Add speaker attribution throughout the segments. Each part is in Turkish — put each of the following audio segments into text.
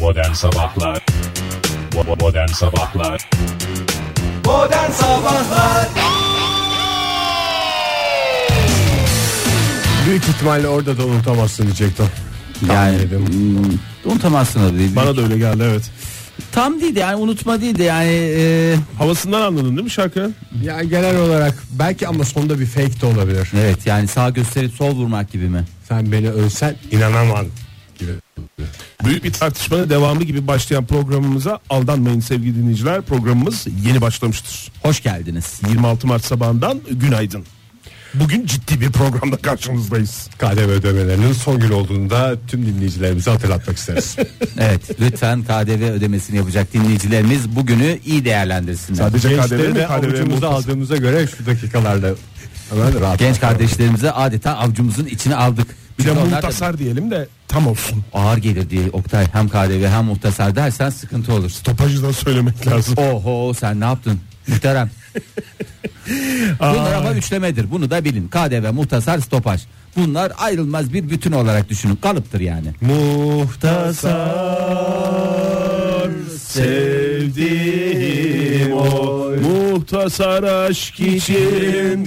Speaker 1: Modern Sabahlar Bo- Modern Sabahlar
Speaker 2: Modern Sabahlar
Speaker 3: Büyük ihtimalle orada da unutamazsın diyecektim.
Speaker 4: Yani
Speaker 3: dedim.
Speaker 4: hmm, unutamazsın da değil.
Speaker 5: Bana da öyle geldi evet.
Speaker 4: Tam değil de yani unutma değil de yani e,
Speaker 5: Havasından anladın değil mi şarkının?
Speaker 3: Yani genel olarak belki ama sonda bir fake de olabilir.
Speaker 4: evet yani sağ gösterip sol vurmak gibi mi?
Speaker 3: Sen beni ölsen inanamam gibi.
Speaker 5: Büyük bir tartışmanın devamı gibi başlayan programımıza aldanmayın sevgili dinleyiciler. Programımız yeni başlamıştır.
Speaker 4: Hoş geldiniz.
Speaker 5: 26 Mart sabahından günaydın. Bugün ciddi bir programda karşınızdayız.
Speaker 3: KDV ödemelerinin son günü olduğunda tüm dinleyicilerimize hatırlatmak isteriz.
Speaker 4: Evet lütfen KDV ödemesini yapacak dinleyicilerimiz bugünü iyi değerlendirsinler.
Speaker 5: Sadece
Speaker 3: Gençleri de avucumuzda
Speaker 5: avucumuzda
Speaker 3: aldığımıza göre şu dakikalarda hemen rahat.
Speaker 4: Genç kardeşlerimize adeta avcumuzun içine aldık.
Speaker 5: Bir de
Speaker 4: Çünkü onlar da
Speaker 5: muhtasar diyelim de tam olsun.
Speaker 4: ağır gelir diye Oktay hem KDV hem muhtasar dersen sıkıntı olur.
Speaker 5: Topajı da söylemek lazım.
Speaker 4: Oho sen ne yaptın? Muhterem. Bunlar ama üçlemedir. Bunu da bilin. KDV, muhtasar, stopaj. Bunlar ayrılmaz bir bütün olarak düşünün. Kalıptır yani.
Speaker 5: Muhtasar sevdiğim o muhtasar aşk için.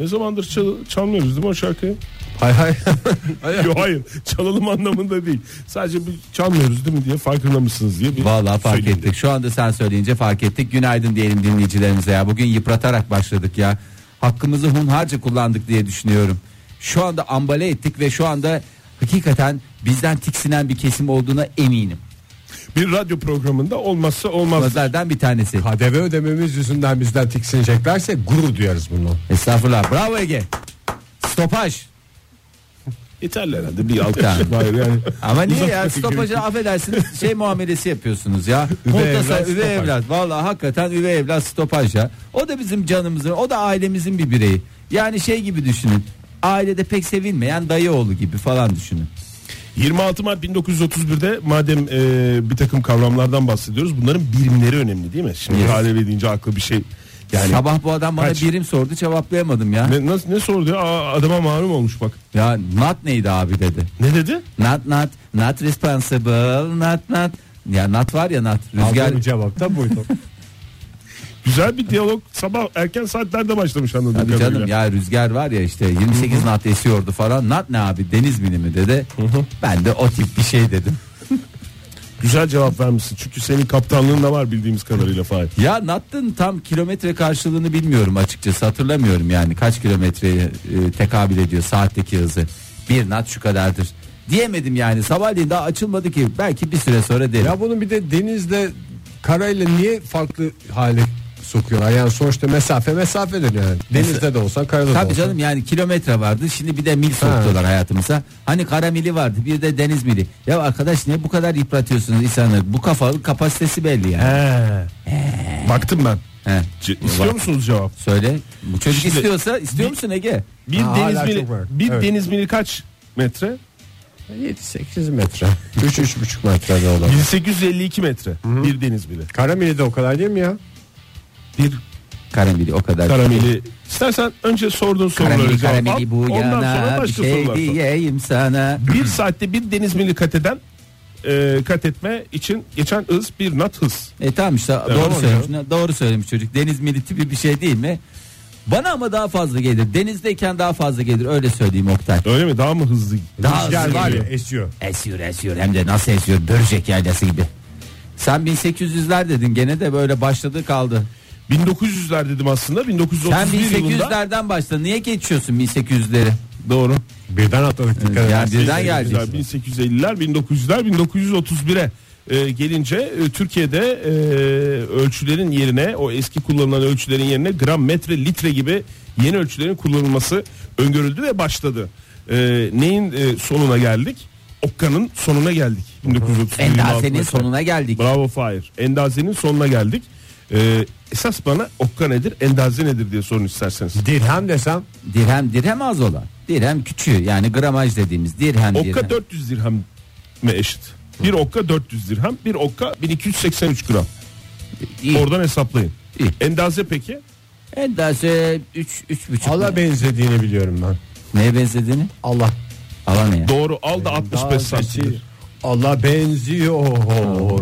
Speaker 5: Ne zamandır çal- çalmıyoruz değil mi o şarkıyı?
Speaker 3: Hay hay.
Speaker 5: Yok hayır çalalım anlamında değil. Sadece bir çalmıyoruz değil mi diye farkında mısınız diye. Bir
Speaker 4: Vallahi fark
Speaker 5: söyleyeyim
Speaker 4: ettik. Şu anda sen söyleyince fark ettik. Günaydın diyelim dinleyicilerimize ya. Bugün yıpratarak başladık ya. Hakkımızı hunharca kullandık diye düşünüyorum. Şu anda ambale ettik ve şu anda hakikaten bizden tiksinen bir kesim olduğuna eminim.
Speaker 5: dedim. Bir radyo programında olmazsa olmaz.
Speaker 4: Pazardan bir tanesi.
Speaker 3: KDV ödememiz yüzünden bizden tiksineceklerse gurur duyarız bundan.
Speaker 4: Estağfurullah. Bravo Ege. Stopaj.
Speaker 5: Yeterli herhalde bir altı
Speaker 4: Tamam.
Speaker 5: Hayır yani.
Speaker 4: Ama niye
Speaker 5: Uzatmak
Speaker 4: ya
Speaker 5: gerek yok.
Speaker 4: stopajı affedersiniz şey muamelesi yapıyorsunuz ya.
Speaker 3: Üvey
Speaker 4: Muhtasa
Speaker 3: evlat,
Speaker 4: üvey
Speaker 3: stopaj.
Speaker 4: evlat. Vallahi hakikaten üvey evlat stopaj ya. O da bizim canımızın o da ailemizin bir bireyi. Yani şey gibi düşünün. Ailede pek sevilmeyen dayı oğlu gibi falan düşünün.
Speaker 5: 26 Mart 1931'de madem e, bir takım kavramlardan bahsediyoruz bunların birimleri önemli değil mi? Şimdi
Speaker 4: Yes.
Speaker 5: KDV deyince aklı bir şey yani.
Speaker 4: Sabah bu adam bana
Speaker 5: Kaç?
Speaker 4: birim sordu cevaplayamadım ya.
Speaker 5: Ne, nasıl, ne sordu ya? Aa, adama malum olmuş bak.
Speaker 4: Ya not neydi abi dedi.
Speaker 5: Ne dedi?
Speaker 4: Not not not responsible not not. Ya not var ya not. Rüzgar
Speaker 3: Aldığım cevap da buydu.
Speaker 5: Güzel bir diyalog sabah erken saatlerde başlamış anladığım
Speaker 4: Tabii
Speaker 5: kadarıyla.
Speaker 4: canım ya rüzgar var ya işte 28 nat esiyordu falan. Nat ne abi deniz bilimi dedi. Ben de o tip bir şey dedim.
Speaker 5: Güzel cevap vermişsin çünkü senin kaptanlığın da var bildiğimiz kadarıyla Fahir.
Speaker 4: Ya nat'ın tam kilometre karşılığını bilmiyorum açıkçası hatırlamıyorum yani kaç kilometreye e, tekabül ediyor saatteki hızı. Bir nat şu kadardır. Diyemedim yani sabahleyin daha açılmadı ki belki bir süre sonra derim.
Speaker 3: Ya bunun bir de denizle karayla niye farklı hale sokuyorlar? Yani sonuçta mesafe mesafedir yani. Denizde de olsa karada da
Speaker 4: Tabii
Speaker 3: olsa.
Speaker 4: canım yani kilometre vardı şimdi bir de mil soktular hayatımıza. Hani kara mili vardı bir de deniz mili. Ya arkadaş niye bu kadar yıpratıyorsunuz insanı? Bu kafalı kapasitesi belli yani.
Speaker 5: Baktım ben.
Speaker 4: He.
Speaker 5: C- İstiyor musunuz cevap?
Speaker 4: Söyle. Bu çocuk
Speaker 5: Şimdi-
Speaker 4: istiyorsa istiyor musun Ege?
Speaker 5: Bir
Speaker 3: Ha,
Speaker 5: deniz
Speaker 3: hala
Speaker 5: mili,
Speaker 3: çok var.
Speaker 5: bir
Speaker 3: Evet.
Speaker 5: deniz mili kaç metre?
Speaker 3: 7-8 metre. 3-3,5 metrede olan.
Speaker 5: 1852 metre. Bir deniz mili.
Speaker 3: Karameli de o kadar değil mi ya?
Speaker 5: Bir
Speaker 4: Karameli o kadar.
Speaker 5: karameli. İstersen önce sorduğun soruları
Speaker 4: karameli,
Speaker 5: cevap al.
Speaker 4: karameli bu
Speaker 5: Ondan sonra
Speaker 4: yana bir
Speaker 5: başka
Speaker 4: şey
Speaker 5: sorular sor.
Speaker 4: diyeyim sana.
Speaker 5: Bir saatte bir deniz mili kat eden e, kat etme için geçen hız bir nat hız.
Speaker 4: E tamam işte doğru
Speaker 5: oluyor.
Speaker 4: söylemiş. Doğru söylemiş çocuk. Deniz mili tipi bir şey değil mi? Bana ama daha fazla gelir. Denizdeyken daha fazla gelir öyle söyleyeyim Oktay.
Speaker 5: Öyle mi? Daha mı hızlı?
Speaker 4: Daha
Speaker 5: Rüzgar
Speaker 4: hızlı
Speaker 5: var ya.
Speaker 4: geliyor.
Speaker 3: esiyor.
Speaker 4: Esiyor esiyor hem de nasıl esiyor börcek yaylası gibi. Sen 1800'ler dedin gene de böyle başladı kaldı.
Speaker 5: 1900'ler dedim aslında. 1931
Speaker 4: Sen
Speaker 5: yılında.
Speaker 4: 1800'lerden başla niye geçiyorsun 1800'leri? Doğru.
Speaker 3: Birden atladık dikkat
Speaker 4: Yani
Speaker 3: edersen.
Speaker 4: birden geldi.
Speaker 5: 1850'ler, 1900'ler, 1931'e e, gelince e, Türkiye'de e, ölçülerin yerine o eski kullanılan ölçülerin yerine gram, metre, litre gibi yeni ölçülerin kullanılması öngörüldü ve başladı. E, neyin e, sonuna geldik? Okkanın sonuna geldik. 1930
Speaker 4: Endasenin sonuna geldik.
Speaker 5: Bravo Fahir. Endazenin sonuna geldik. E, esas bana okka nedir, endaze nedir diye sorun isterseniz.
Speaker 3: Dirhem desem
Speaker 4: Dirhem dirhem az olan. Dirhem küçüğü yani gramaj dediğimiz dirhem
Speaker 5: Okka
Speaker 4: dirhem.
Speaker 5: 400 dirhem mi eşit? Bir okka 400 dirhem, bir okka 1283 gram.
Speaker 4: İyi.
Speaker 5: Oradan hesaplayın.
Speaker 4: İyi.
Speaker 5: Endaze peki?
Speaker 4: Endase 3 üç buçuk.
Speaker 3: Allah
Speaker 4: Ne-
Speaker 3: benzediğini biliyorum ben.
Speaker 4: Neye benzediğini?
Speaker 3: Allah.
Speaker 4: Allah ne ya?
Speaker 5: Doğru al da 65 santim.
Speaker 3: Allah benziyor.
Speaker 4: Bravo.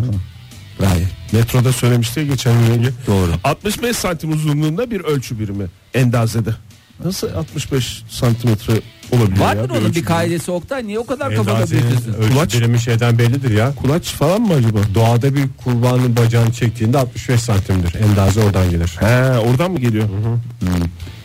Speaker 5: Metroda söylemişti ya geçen gün Ege.
Speaker 4: Doğru.
Speaker 5: 65 santim uzunluğunda bir ölçü birimi endazede. Nasıl 65 santimetre olabilir ya?
Speaker 4: Vardır onun
Speaker 5: ölçü
Speaker 4: bir
Speaker 5: birimi?
Speaker 4: kaidesi Oktay. Niye o kadar kafada büyütüyorsun?
Speaker 3: Endazenin ölçü birimi şeyden bellidir ya.
Speaker 5: Kulaç falan mı acaba?
Speaker 3: Doğada bir kurbanın bacağını çektiğinde 65 santimdir. Endaze oradan gelir.
Speaker 5: He, oradan mı geliyor?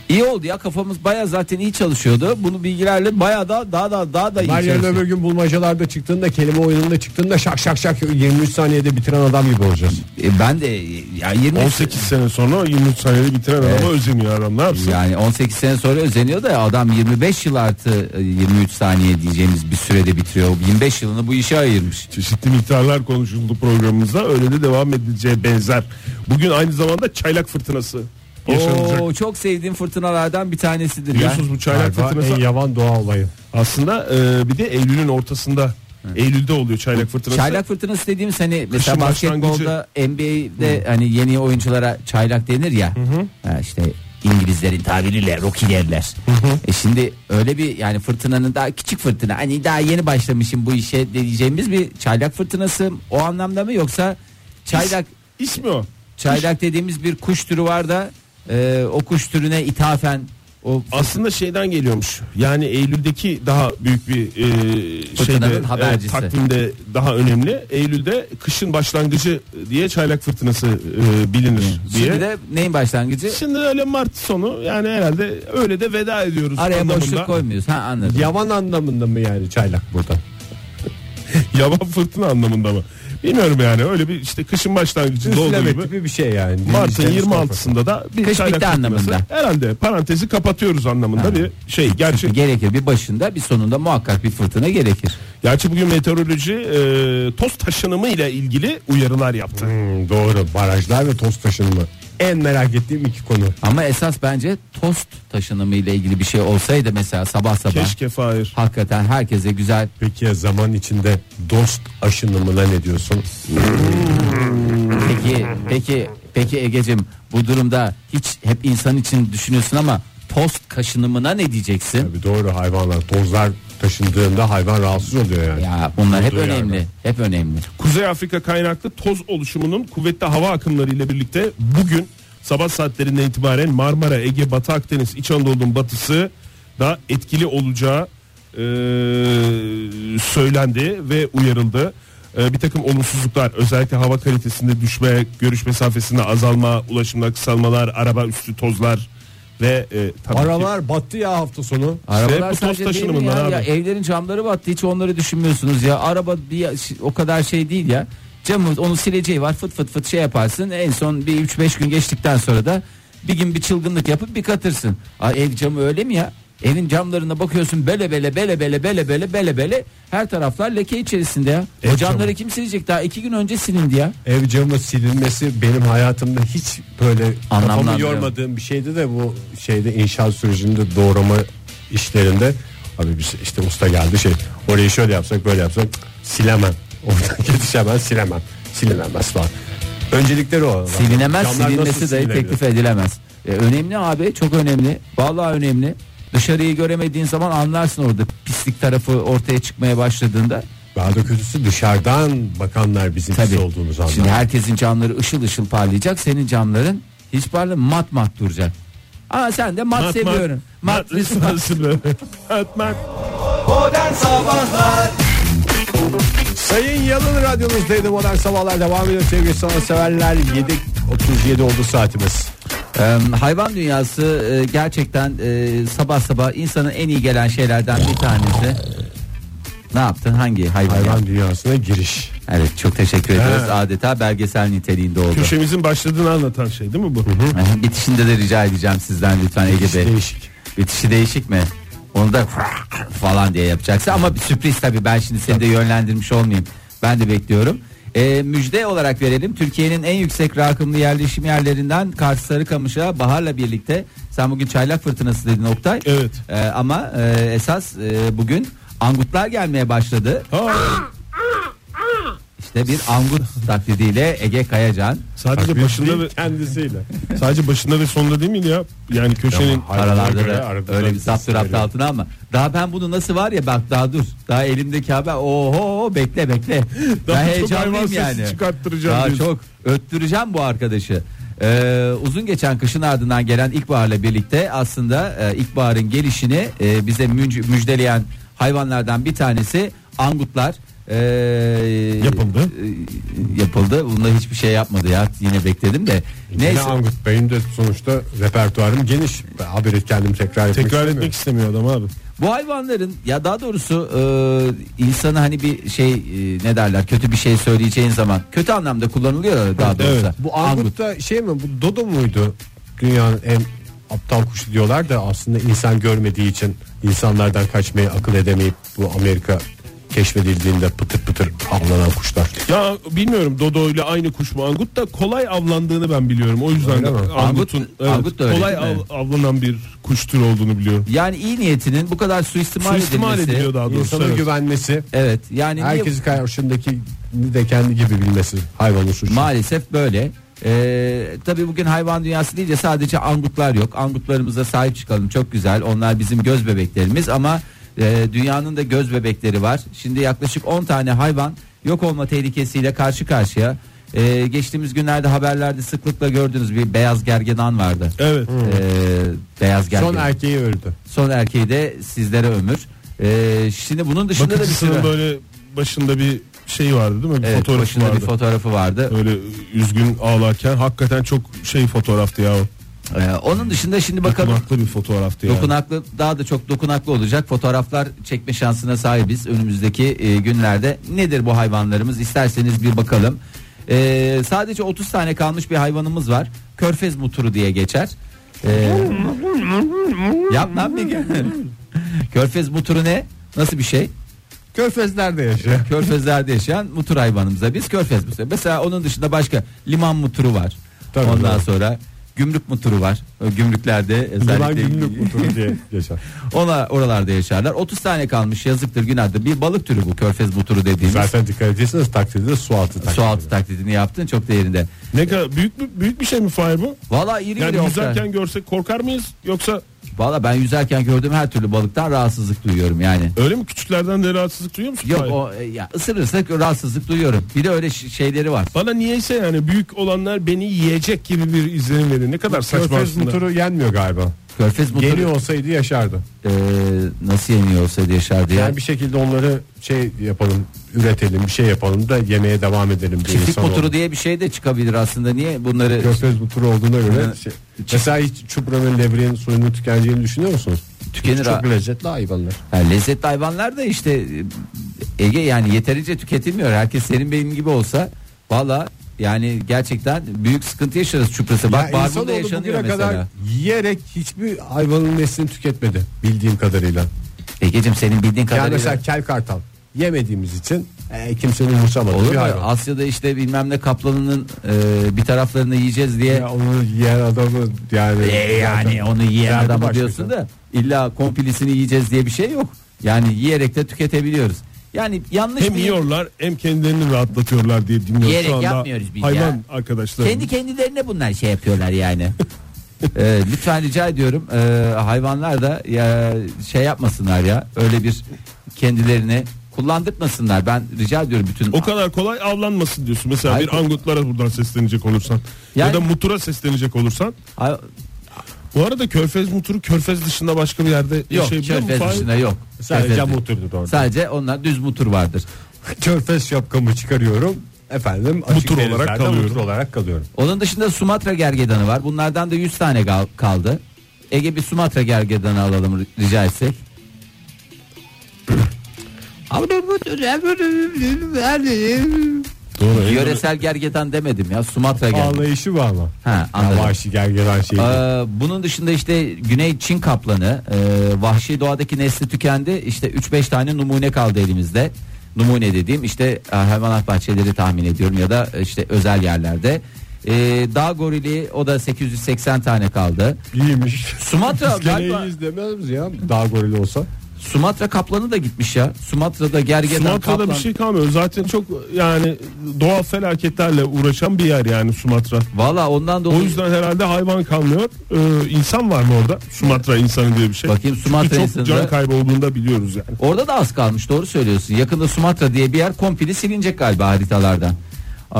Speaker 4: İyi oldu ya kafamız baya zaten iyi çalışıyordu. Bunu bilgilerle baya da daha da daha da iyi
Speaker 3: Var yarın
Speaker 4: çalışıyor.
Speaker 3: öbür gün bulmacalarda çıktığında kelime oyununda çıktığında şak şak şak 23 saniyede bitiren adam gibi olacağız.
Speaker 4: E, ben de ya 20
Speaker 5: 18 sene sonra 23 saniyede bitiren adama özeniyor adam ne yapsın?
Speaker 4: yani 18 sene sonra özeniyor da adam 25 yıl artı e, 23 saniye diyeceğimiz bir sürede bitiriyor. 25 yılını bu işe ayırmış.
Speaker 5: Çeşitli miktarlar konuşuldu programımızda öyle de devam edileceği benzer. Bugün aynı zamanda çaylak fırtınası yaşanacak.
Speaker 4: Oo, çok sevdiğim fırtınalardan bir tanesidir ya.
Speaker 5: Biliyorsunuz bu çaylak
Speaker 3: Galiba
Speaker 5: fırtınası
Speaker 3: en yavan doğa olayı.
Speaker 5: aslında e, bir de Eylül'ün ortasında Eylül'de oluyor çaylak fırtınası.
Speaker 4: Çaylak fırtınası dediğimiz hani mesela
Speaker 5: Kışın
Speaker 4: basketbolda NBA'de hani yeni oyunculara çaylak denir ya. Ha işte İngilizlerin tabiriyle rookie derler. E şimdi öyle bir yani fırtınanın daha küçük fırtına hani daha yeni başlamışım bu işe diyeceğimiz bir çaylak fırtınası o anlamda mı yoksa çaylak
Speaker 5: İsmi o.
Speaker 4: çaylak dediğimiz bir kuş türü var da e, o kuş türüne ithafen o
Speaker 5: Aslında şeyden geliyormuş. Yani Eylül'deki daha büyük bir e,
Speaker 4: Fırtınanın
Speaker 5: şeyde
Speaker 4: habercisi.
Speaker 5: takvimde daha önemli. Eylül'de kışın başlangıcı diye çaylak fırtınası e, bilinir diye.
Speaker 4: şimdi de neyin başlangıcı?
Speaker 5: Şimdi öyle Mart sonu yani herhalde öyle de veda ediyoruz.
Speaker 4: Araya
Speaker 5: anlamında.
Speaker 4: boşluk koymuyoruz. Ha anladım.
Speaker 3: Yavan anlamında mı yani çaylak burada?
Speaker 5: Yaban fırtına anlamında mı? Bilmiyorum yani öyle bir işte kışın başlangıcı olduğu
Speaker 3: Üfleme
Speaker 5: gibi.
Speaker 3: tipi bir şey yani.
Speaker 5: Mart'ın
Speaker 3: Dinleyicilerimiz korkar.
Speaker 5: 26'sında da bir
Speaker 4: Kış
Speaker 5: çaylak
Speaker 4: bitti
Speaker 5: fırtınası.
Speaker 4: anlamında.
Speaker 5: Herhalde parantezi kapatıyoruz anlamında
Speaker 4: Ha.
Speaker 5: bir şey gerçek.
Speaker 4: Gerekir bir başında bir sonunda muhakkak bir fırtına gerekir.
Speaker 5: Gerçi bugün meteoroloji e, toz taşınımı ile ilgili uyarılar yaptı.
Speaker 3: Hmm, doğru barajlar ve toz taşınımı. En merak ettiğim iki konu.
Speaker 4: Ama esas bence tost taşınımı ile ilgili bir şey olsaydı mesela sabah sabah
Speaker 5: Keşke Fahir.
Speaker 4: hakikaten herkese güzel
Speaker 3: Peki ya zaman içinde dost aşınımına ne diyorsun?
Speaker 4: peki peki peki Egecim bu durumda hiç hep insan için düşünüyorsun ama tost kaşınımına ne diyeceksin?
Speaker 3: Tabii doğru hayvanlar tozlar taşındığında hayvan rahatsız oluyor yani.
Speaker 4: Ya bunlar hep
Speaker 3: Olduğu
Speaker 4: önemli. Hep önemli.
Speaker 5: Kuzey Afrika kaynaklı toz oluşumunun kuvvetli hava akımları ile birlikte bugün sabah saatlerinden itibaren Marmara, Ege, Batı Akdeniz, İç Anadolu'nun batısı da etkili olacağı e, söylendi ve uyarıldı. E, bir takım olumsuzluklar özellikle hava kalitesinde düşme, görüş mesafesinde azalma, ulaşımda kısalmalar, araba üstü tozlar ve e, tabii ki-
Speaker 3: Aralar battı ya hafta sonu.
Speaker 4: Arabalar
Speaker 5: bu toz
Speaker 4: sadece değil mi
Speaker 5: taşınımından
Speaker 4: ya? Ya
Speaker 5: abi.
Speaker 4: evlerin camları battı hiç onları düşünmüyorsunuz ya. Araba bir ya- şi- o kadar şey değil ya. Camı onu sileceği var fıt fıt fıt şey yaparsın. En son bir 3-5 gün geçtikten sonra da bir gün bir çılgınlık yapıp bir katırsın. Aa, ev camı öyle mi ya? Evin camlarına bakıyorsun bele bele bele bele bele bele bele bele her taraflar leke içerisinde ya. o
Speaker 3: Ev
Speaker 4: camları
Speaker 3: camı.
Speaker 4: kim silecek daha iki gün önce silindi ya.
Speaker 3: Ev camı silinmesi benim hayatımda hiç böyle kafamı
Speaker 4: Anlamlandırıyor.
Speaker 3: yormadığım bir şeydi de bu şeyde inşaat sürecinde doğrama işlerinde abi biz işte usta geldi şey orayı şöyle yapsak böyle yapsak silemem. Oradan yetişemem silemem. Silinemez falan. Öncelikleri o.
Speaker 4: Silinemez
Speaker 3: Camlar nasıl
Speaker 4: silinmesi dahi
Speaker 3: silinebilir?
Speaker 4: teklif edilemez. E, önemli abi çok önemli. Vallahi önemli. Dışarıyı göremediğin zaman anlarsın orada pislik tarafı ortaya çıkmaya başladığında.
Speaker 3: Daha da kötüsü dışarıdan bakanlar bizim
Speaker 4: Tabii.
Speaker 3: siz olduğumuz anlar.
Speaker 4: Şimdi herkesin camları ışıl ışıl parlayacak. Senin camların hiç parlı mat mat duracak. Aa sen de mat,
Speaker 5: Mat,
Speaker 4: seviyorum. Mat,
Speaker 5: Mat lisansı böyle. Mat, mat.
Speaker 2: Modern Sabahlar
Speaker 3: Sayın Yalın radyonuzdaydı modern sabahlar devam ediyor sevgili sanatseverler 7.37 oldu saatimiz.
Speaker 4: Ee, hayvan dünyası e, gerçekten e, sabah sabah insanın en iyi gelen şeylerden bir tanesi. Ne yaptın? Hangi hayvan? yaptın?
Speaker 3: Hayvan dünyasına giriş.
Speaker 4: Evet çok teşekkür ediyoruz. Adeta belgesel niteliğinde oldu.
Speaker 5: Köşemizin başladığını anlatan şey değil mi bu?
Speaker 4: Bitişinde de rica edeceğim sizden lütfen Ege Bey.
Speaker 3: değişik.
Speaker 4: Bitişi değişik mi? Onu da falan diye yapacaksın ama bir sürpriz tabii ben şimdi seni de yönlendirmiş olmayayım. Ben de bekliyorum. Ee, müjde olarak verelim. Türkiye'nin en yüksek rakımlı yerleşim yerlerinden Kars Sarıkamış'a baharla birlikte sen bugün çaylak fırtınası dedin Oktay.
Speaker 5: Evet.
Speaker 4: Ee, ama e, esas e, bugün angutlar gelmeye başladı.
Speaker 5: Ha.
Speaker 4: İşte İşte bir angut taklidiyle Ege Kayacan
Speaker 5: Sadece
Speaker 3: Taklit
Speaker 5: başında
Speaker 3: değil,
Speaker 5: ve kendisiyle. Sadece başında ve sonunda değil miydi ya? Yani köşenin
Speaker 4: aralarda
Speaker 3: göre
Speaker 4: da
Speaker 3: arada
Speaker 4: öyle
Speaker 3: da
Speaker 4: bir zaptı raptı altına ama daha ben bunu nasıl var ya bak daha dur daha elimdeki haber oho bekle bekle daha,
Speaker 5: Daha çok hayvan
Speaker 4: heyecanlıyım
Speaker 5: sesi
Speaker 4: yani
Speaker 5: çıkarttıracağım
Speaker 4: daha
Speaker 5: diyorsun.
Speaker 4: çok öttüreceğim bu arkadaşı Ee, uzun geçen kışın ardından gelen ilkbaharla birlikte aslında e, ilkbaharın gelişini e, bize münc- müjdeleyen hayvanlardan bir tanesi angutlar Ee,
Speaker 5: Yapıldı.
Speaker 4: e, yapıldı bunda hiçbir şey yapmadı ya yine bekledim de
Speaker 3: Yine
Speaker 4: neyse
Speaker 3: Angut Bey'in de sonuçta repertuarım geniş. Ben haberi kendim tekrar etmek
Speaker 5: tekrar
Speaker 3: istemiyorum.
Speaker 5: etmek istemiyor adam abi.
Speaker 4: Bu hayvanların ya daha doğrusu e, insanı hani bir şey e, ne derler kötü bir şey söyleyeceğin zaman kötü anlamda kullanılıyor ya daha doğrusu.
Speaker 5: Evet,
Speaker 3: Bu Angut da şey mi bu Dodo muydu? Dünyanın en aptal kuşu diyorlar da aslında insan görmediği için insanlardan kaçmayı akıl edemeyip bu Amerika keşfedildiğinde pıtır pıtır avlanan kuşlar.
Speaker 5: Ya bilmiyorum Dodo ile aynı kuş mu Angut da kolay avlandığını ben biliyorum. O yüzden
Speaker 3: Öyle mi?
Speaker 5: Angut'un
Speaker 4: Angut-
Speaker 5: evet,
Speaker 4: Angut da öyle
Speaker 5: kolay
Speaker 4: değil mi?
Speaker 5: av- avlanan bir kuş türü olduğunu biliyorum.
Speaker 4: Yani iyi niyetinin bu kadar suistimal,
Speaker 5: Suistimal
Speaker 4: edilmesi.
Speaker 5: ediliyor daha doğrusu.
Speaker 3: İnsana
Speaker 5: evet.
Speaker 3: güvenmesi,
Speaker 4: Evet yani niye-
Speaker 3: herkesi karşındaki de kendi gibi bilmesi hayvanın suçu.
Speaker 4: maalesef böyle. Ee, tabii bugün hayvan dünyası deyince sadece angutlar yok. Angutlarımıza sahip çıkalım çok güzel. Onlar bizim göz bebeklerimiz ama e, dünyanın da göz bebekleri var. Şimdi yaklaşık 10 tane hayvan yok olma tehlikesiyle karşı karşıya. Ee, geçtiğimiz günlerde haberlerde sıklıkla gördüğünüz bir beyaz gergedan vardı.
Speaker 5: Evet.
Speaker 4: Ee, beyaz gergedan.
Speaker 3: Son
Speaker 4: Son,
Speaker 3: erkeği öldü.
Speaker 4: erkeği de sizlere ömür. Ee, şimdi bunun dışında da bir
Speaker 5: Bakıcısının
Speaker 4: sürü-
Speaker 5: böyle başında bir şey vardı değil mi? Bir
Speaker 4: Evet,
Speaker 5: fotoğrafı
Speaker 4: başında
Speaker 5: vardı.
Speaker 4: bir fotoğrafı vardı.
Speaker 5: Öyle üzgün ağlarken hakikaten çok şey fotoğraftı ya o.
Speaker 4: Ee, onun dışında şimdi bakalım
Speaker 5: Dokunaklı bir fotoğraftı yani.
Speaker 4: Dokunaklı daha da çok dokunaklı olacak fotoğraflar çekme şansına sahibiz önümüzdeki e, günlerde. Nedir bu hayvanlarımız isterseniz bir bakalım. E, sadece 30 tane kalmış bir hayvanımız var. Körfez muturu diye geçer. E, yap lan bir gün. Körfez muturu ne? Nasıl bir şey?
Speaker 3: Körfezlerde yaşıyor.
Speaker 4: Körfezlerde yaşayan mutur hayvanımıza biz körfez muturu. Mesela onun dışında başka liman muturu var.
Speaker 3: Tabii,
Speaker 4: Ondan
Speaker 3: doğru.
Speaker 4: sonra gümrük muturu var. O Gümrüklerde
Speaker 3: Duman
Speaker 4: özellikle
Speaker 3: günlük mutlu diye yaşar.
Speaker 4: Ona oralarda yaşarlar. 30 tane kalmış yazıktır günahdır. Bir balık türü bu körfez buturu dediğimiz.
Speaker 3: Zaten dikkat ediyorsanız taklidi de su altı taklidi.
Speaker 4: Su altı taklidini yaptın çok değerinde.
Speaker 5: Ne kadar büyük bir, büyük bir şey mi Fahir bu?
Speaker 4: Valla iri
Speaker 5: Yani
Speaker 4: iri
Speaker 5: yüzerken görsek korkar mıyız yoksa
Speaker 4: Valla ben yüzerken gördüğüm her türlü balıktan rahatsızlık duyuyorum yani.
Speaker 5: öyle mi küçüklerden de rahatsızlık duyuyor musun?
Speaker 4: Yok
Speaker 5: Fahir?
Speaker 4: o e, ya ısırırsak rahatsızlık duyuyorum. Bir de öyle ş- şeyleri var.
Speaker 5: Bana niyeyse yani büyük olanlar beni yiyecek gibi bir izlenim veriyor. Ne kadar saçma
Speaker 3: Körfez
Speaker 5: aslında.
Speaker 3: muturu yenmiyor galiba.
Speaker 4: Körfez buturu
Speaker 3: Yeni olsaydı yaşardı.
Speaker 4: e, nasıl yeniyorsa diye şardı ya.
Speaker 3: Yani bir şekilde onları şey yapalım, üretelim, bir şey yapalım da yemeye devam edelim diye
Speaker 4: Çiftlik
Speaker 3: insan
Speaker 4: muturu
Speaker 3: oldu.
Speaker 4: diye bir şey de çıkabilir aslında. Niye bunları
Speaker 3: Körfez muturu olduğuna göre
Speaker 4: Yani-
Speaker 3: şey, mesela hiç çupra ve levrenin suyunu tükeneceğini düşünüyor musunuz?
Speaker 4: Tükenir
Speaker 3: Çok
Speaker 4: ha.
Speaker 3: lezzetli hayvanlar.
Speaker 4: Ha, lezzetli hayvanlar da işte e, Ege yani yeterince tüketilmiyor. Herkes senin benim gibi olsa valla yani gerçekten büyük sıkıntı yaşarız çuprası. Bak
Speaker 3: ya insanoğlu
Speaker 4: Barbun'da
Speaker 3: bugüne
Speaker 4: yaşanıyor mesela.
Speaker 3: kadar yiyerek hiçbir hayvanın neslini tüketmedi bildiğim kadarıyla.
Speaker 4: Egeciğim senin bildiğin
Speaker 3: Yani
Speaker 4: kadarıyla.
Speaker 3: mesela kel kartal yemediğimiz için e, kimsenin umursamada
Speaker 4: olur
Speaker 3: bir
Speaker 4: mu?
Speaker 3: hayvan.
Speaker 4: Asya'da işte bilmem ne kaplanının e, bir taraflarını yiyeceğiz diye.
Speaker 3: Ya onu yiyen adamı Ee, yani.
Speaker 4: E, yani
Speaker 3: zaten-
Speaker 4: onu yiyen
Speaker 3: Derdi
Speaker 4: adamı
Speaker 3: başka
Speaker 4: diyorsun da illa kompilisini yiyeceğiz diye bir şey yok. Yani yiyerek de tüketebiliyoruz. Yani yanlış
Speaker 5: Hem
Speaker 4: bir-
Speaker 5: yiyorlar hem kendilerini rahatlatıyorlar diye dinliyoruz
Speaker 4: Yiyerek
Speaker 5: şu anda.
Speaker 4: yapmıyoruz biz
Speaker 5: hayvan
Speaker 4: ya.
Speaker 5: arkadaşlar.
Speaker 4: Kendi kendilerine bunlar şey yapıyorlar yani. Ee, lütfen rica ediyorum ee, hayvanlar da ya, şey yapmasınlar ya öyle bir kendilerini kullandırmasınlar ben rica ediyorum bütün
Speaker 5: O kadar kolay avlanmasın diyorsun. Mesela
Speaker 4: Hayır.
Speaker 5: bir angutlara buradan seslenecek olursan ya
Speaker 4: Yani-
Speaker 5: da mutura seslenecek olursan.
Speaker 4: Ay-
Speaker 5: Bu arada Körfez muturu Körfez dışında başka bir şey yerde
Speaker 4: yok
Speaker 5: yaşayabiliyor mu?
Speaker 4: körfez
Speaker 5: Fahir?
Speaker 4: dışında yok
Speaker 3: Sadece
Speaker 4: Körfez-
Speaker 3: muturdur orada.
Speaker 4: sadece onlar düz mutur vardır
Speaker 3: Körfez şapkamı çıkarıyorum. Efendim açık
Speaker 5: Mutur olarak
Speaker 3: denizlerde
Speaker 5: kalıyorum.
Speaker 3: mutur olarak kalıyorum.
Speaker 4: onun dışında Sumatra gergedanı var bunlardan da 100 tane gal- kaldı Ege bir Sumatra gergedanı alalım ri- rica etsek
Speaker 5: Doğru.
Speaker 4: yöresel gergedan demedim ya Sumatra gergedanı
Speaker 3: Ağlayışı var mı?
Speaker 4: Ha, anladım.
Speaker 3: Ya vahşi gergedan şey.
Speaker 4: Ee, bunun dışında işte Güney Çin kaplanı e, vahşi doğadaki nesli tükendi. İşte 3-5 tane numune kaldı elimizde. Numune dediğim işte e, hayvanat bahçeleri tahmin ediyorum ya da işte özel yerlerde. Ee, dağ gorili o da 880 tane kaldı.
Speaker 3: İyiymiş.
Speaker 4: Sumatra
Speaker 3: Biz gene
Speaker 4: galiba
Speaker 3: iyiyiz demez miyiz ya? Dağ gorili olsa.
Speaker 4: Sumatra kaplanı da gitmiş ya. Sumatra'da gergedan
Speaker 5: Sumatra'da
Speaker 4: kaplan.
Speaker 5: bir şey kalmıyor. Zaten çok yani doğal felaketlerle uğraşan bir yer yani Sumatra.
Speaker 4: Valla ondan
Speaker 5: O
Speaker 4: dolayı
Speaker 5: yüzden herhalde hayvan kalmıyor. Ee, insan var mı orada? Sumatra insanı diye bir şey.
Speaker 4: Bakayım
Speaker 5: Çünkü
Speaker 4: Sumatra
Speaker 5: çok
Speaker 4: insanı da-
Speaker 5: can kaybı olduğunu da biliyoruz yani.
Speaker 4: Orada da az kalmış doğru söylüyorsun. Yakında Sumatra diye bir yer komple silinecek galiba haritalardan. Ee,